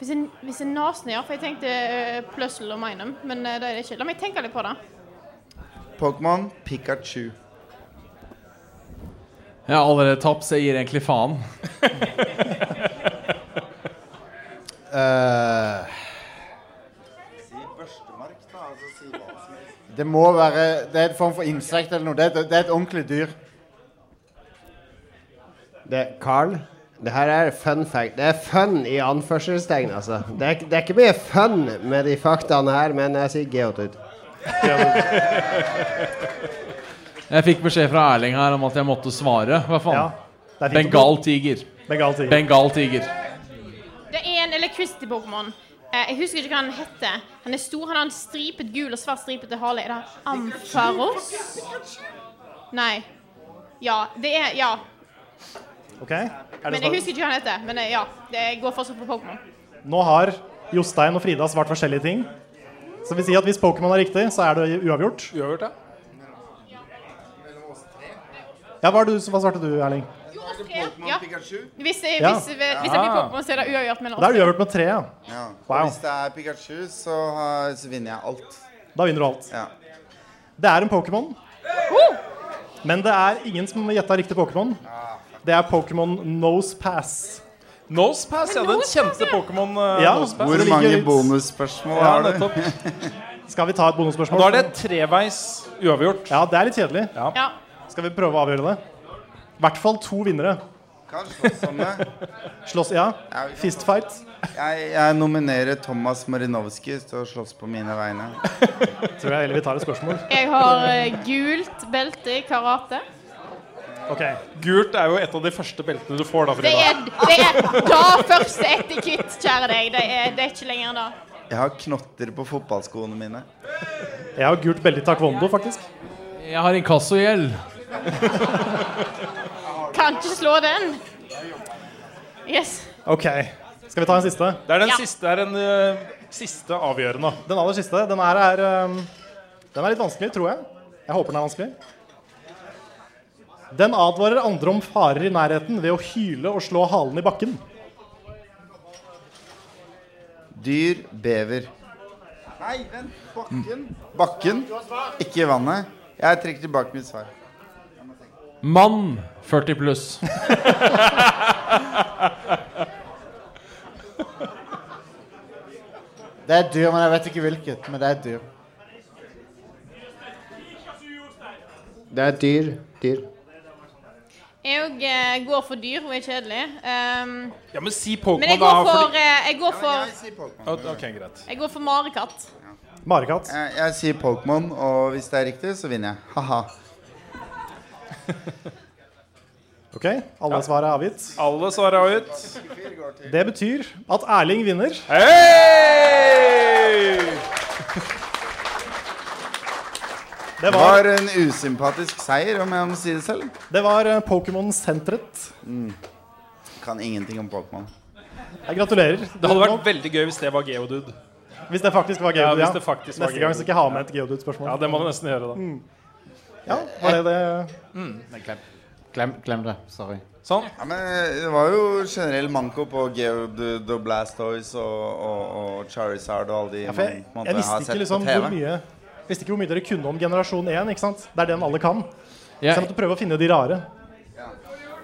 B: hvis en, hvis en nasen, ja. For jeg tenkte uh, Plussel og Minum, men eh, det er det ikke. La meg tenke litt på det.
E: Pokémon Pikachu.
G: Jeg har allerede tapt, så jeg gir egentlig faen.
F: Eh,
E: Si børstemark, da. Altså, si hva som helst.
F: det må være Det er en form for insekt eller noe. Det, er- det er et ordentlig dyr.
H: Det, Carl, det her er fun fact. Det er fun i anførselstegn, altså. Det er, det er ikke mye fun med de faktaene her, men jeg sier geotud.
G: Jeg fikk beskjed fra Erling her om at jeg måtte svare. Hva faen?
D: det er fint.
G: Bengal tiger.
D: Bengal tiger.
G: Bengal tiger.
B: Det er en electricity Pokémon. Eh, jeg husker ikke hva han heter. Han er stor, han har en stripet gul og svart stripete hale. Er det Ampharos? Nei. Ja, det er Ja.
D: Ok? Er det
B: Men jeg
D: svar?
B: husker ikke hva han heter. Men eh, ja, det jeg går fortsatt på Pokémon.
D: Nå har Jostein og Frida svart forskjellige ting. Så vi sier at hvis Pokémon er riktig, så er det uavgjort.
C: Uavgjort, ja.
D: Ja, hva, er du, hva svarte du, Erling?
B: Ja. Hvis, det-
D: Ja.
B: hvis, hvis, hvis det blir Pokémon, så er det uavgjort mellom
D: Da er det uavgjort med tre, ja.
E: Ja. Og
D: Wow.
E: Hvis det er Pikachu, så, har- så vinner jeg alt.
D: Da vinner du alt.
E: Ja.
D: Det er en Pokémon. Men det er ingen som gjetta riktig Pokémon. Det er Pokémon Nosepass.
C: Nosepass, ja. Den kjente Pokémon eh,
D: Ja,
C: Nosepass.
D: hvor mange Det ligger litt-
E: bonusspørsmål
C: ja,
E: har du?
C: nettopp.
D: Skal vi ta et bonusspørsmål?
C: Da er det treveis uavgjort.
D: Ja, det er litt kjedelig.
B: Ja.
D: Skal vi prøve å avgjøre det? I hvert fall to vinnere.
E: Kan slåss om det.
D: Slåss Ja. Fistfight.
E: Jeg, jeg nominerer Thomas Marinovski til å slåss på mine vegne.
D: Tror jeg heller vi tar et spørsmål.
B: Jeg har eh, gult belte i karate.
C: Gult er jo et av de første beltene du får da,
B: Det
C: Frida.
B: er, det er da første etikett, kjære deg. Det er, det er ikke lenger enn da.
E: Jeg har knotter på fotballskoene mine.
D: Jeg har gult belte i taekwondo, faktisk.
G: Jeg har inkassogjeld.
B: Kan ikke slå den. Yes.
D: Ok. Skal vi ta en siste?
C: Det er den siste, er en, eh, siste avgjørende.
D: Den aller siste. Den her er um, Den er litt vanskelig, tror jeg. Jeg håper den er vanskelig. Den advarer andre om farer i nærheten ved å hyle og slå halen i bakken.
E: Dyr, bever. Nei, vent. Bakken. Bakken, ikke vannet. Jeg trekker tilbake mitt svar.
G: Mann 40 pluss.
F: Det er et dyr, men jeg vet ikke hvilket. Men det er et dyr.
H: Det er dyr. Dyr.
B: Jeg eh, går for dyr, hun er kjedelig. Ehm,
C: Ja, men si Pokémon,
B: men jeg
C: da,
B: går for,
C: fordi-
B: eh, jeg går for,
C: Ok, greit.
B: jeg går for marekatt.
D: Marekatt.
E: Jeg, jeg sier Pokémon, og hvis det er riktig, så vinner jeg. Ha-ha.
D: Ok, alle svar er avgitt.
C: Alle svar er ut.
D: Det betyr at Erling vinner.
E: Det
D: Det
E: var
D: var,
E: en usympatisk seier, om jeg må si det selv.
D: det var eh, Pokémon-senteret.
E: Mm. Kan ingenting om Pokémon.
D: Jeg gratulerer.
C: Det hadde vært veldig gøy hvis det var Geodude.
D: Hvis det faktisk var
C: Ja,
D: Geodude, ja.
C: hvis det faktisk var
D: Neste gang
C: Geodude.
D: skal ikke jeg ha med et Geodude-spørsmål.
C: Ja, det må du nesten gjøre, da.
D: Mm. Ja, var det det?
F: Glem, glem det. Sorry.
C: Sånn.
E: Ja, men eh, det var jo generell manko på Geodude og Blastoise og, og, og Charizard og alle de
D: Ja, for
E: man
D: jeg,
E: på en måte
D: jeg visste
E: har sett
D: ikke liksom
E: på TV.
D: hvor mye Visste ikke hvor mye dere kunne om generasjon 1. Ikke sant? Det er den alle kan. Så jeg måtte prøve å finne de rare.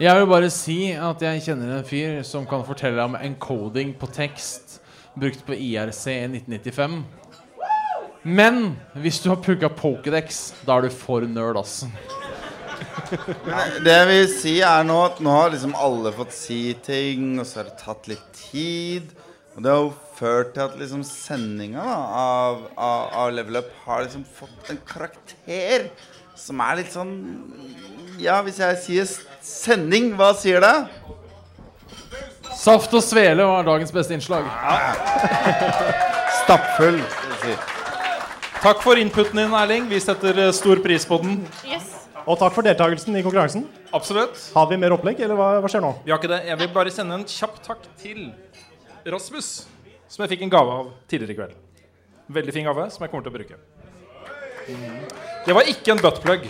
G: Jeg vil bare si at jeg kjenner en fyr som kan fortelle om encoding på tekst brukt på IRC i 1995. Men hvis du har pugga Pokédex, da er du for nerd, ass.
E: Men det jeg vil si er nå at nå har liksom alle fått si ting, og så har det tatt litt tid. Og det har jo ført til at liksom sendinga da, av, av, av Level Up har liksom fått en karakter som er litt sånn Ja, hvis jeg sier s- sending, hva sier det?
G: Saft og svele var dagens beste innslag.
E: Stappfull.
C: Takk for inputen din, Erling. Vi setter eh, stor pris på den.
D: Og takk for deltakelsen i konkurransen.
C: Absolutt.
D: Har vi mer opplegg, eller hva, hva skjer nå?
C: Vi har ikke det. Jeg vil bare sende en kjapp takk til Rasmus, som jeg fikk en gave av tidligere i kveld. Veldig fin gave, som jeg kommer til å bruke. Mhm. Det var ikke en buttplug.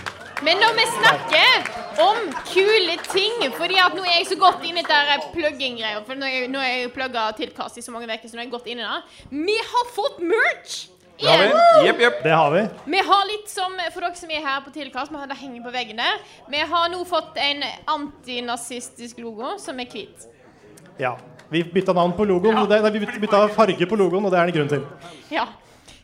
B: Men når vi snakker om kule ting Fordi at nå er jeg så godt inne i dette plugging-greia. For nå er jeg- nå har jeg plugga til Kast i så mange uker, så nå er jeg godt inne i det. Vi har fått merch!
D: Det har
B: Igjen.
D: vi. Det har vi.
B: Vi har litt som, for dere som er her på tilkast, vi har det henger på veggen der. Vi har nå fått en antinazistisk logo som er hvit.
D: Ja. Vi bytta navn på logoen. Det, nei, vi byt- bytta farge på logoen, og det er det grunn til.
B: Ja.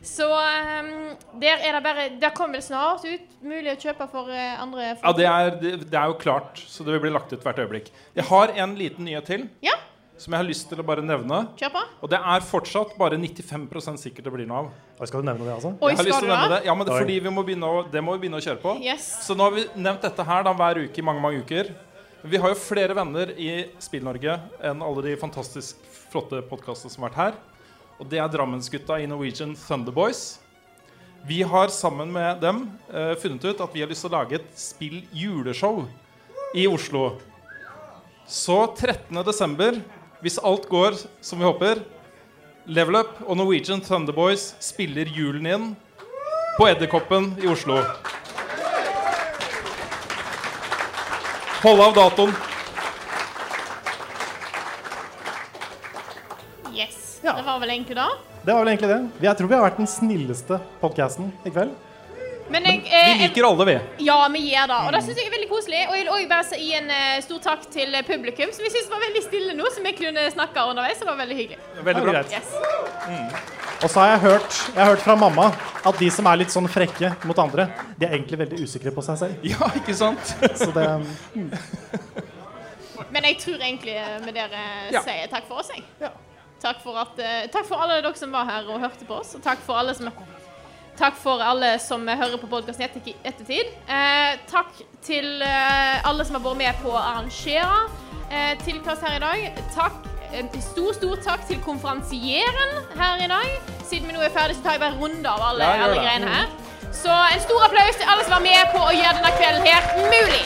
B: Så ehm, der er det bare Der kommer det snart ut. Mulig å kjøpe for eh, andre folk.
C: Ja, det er, det, det er jo klart, så det vil bli lagt ut hvert øyeblikk. Jeg har en liten nyhet til
B: Ja.
C: som jeg har lyst til å bare nevne.
B: Kjør på.
C: Og det er fortsatt bare 95 sikkert det blir noe av.
D: Oi, skal du nevne det, altså?
B: Oi,
C: jeg har lyst
B: skal
C: til å
B: du
C: nevne
B: da?
C: det. Ja, men det, er
D: Oi.
C: fordi vi må begynne å, det må vi begynne å kjøre på.
B: Yes.
C: Så nå har vi nevnt dette her da, hver uke i mange mange uker. Vi har jo flere venner i Spill-Norge enn alle de fantastisk flotte podkastene som har vært her. Og det er Drammensgutta i Norwegian Thunderboys. Vi har sammen med dem eh, funnet ut at vi har lyst til å lage et spill-juleshow i Oslo. Så 13. desember, hvis alt går som vi håper, Level Up og Norwegian Thunderboys spiller julen inn på Edderkoppen i Oslo. Hold av datoen.
B: Yes. Det var vel egentlig det.
D: Det var vel egentlig det. Vi- Jeg tror vi har vært den snilleste podkasten i kveld.
B: Men jeg, eh, jeg
C: liker Mm. alle, vi.
B: Ja, vi gjør det. Og det syns jeg er veldig koselig. Og jeg vil òg bare gi en eh, stor takk til eh, publikum, som jeg syns var veldig stille nå, som jeg kunne snakke underveis. Så det var veldig hyggelig.
D: Veldig bra.
B: Yes.
D: Og så har jeg hørt, jeg har hørt fra mamma at de som er litt sånn frekke mot andre, de er egentlig veldig usikre på seg selv.
C: Ja, ikke sant?
D: Så det um,
B: Men jeg tror egentlig eh, vi dere
C: Ja.
B: sier takk for oss, jeg. Takk, for at, eh, takk for alle dere som var her og hørte på oss, og takk for alle som, takk for alle som hører på podkasten i etter, ettertid. Eh, takk til eh, alle som har vært med på å arrangere eh, tilkast her i dag. Takk, eh, stor, stor takk til konferansieren her i dag. Siden vi nå er ferdig, så tar jeg bare en runde av alle,
J: Ja, gjør
B: alle
J: det.
B: greiene her. Så en stor applaus til alle som var med på å gjøre denne kvelden her mulig.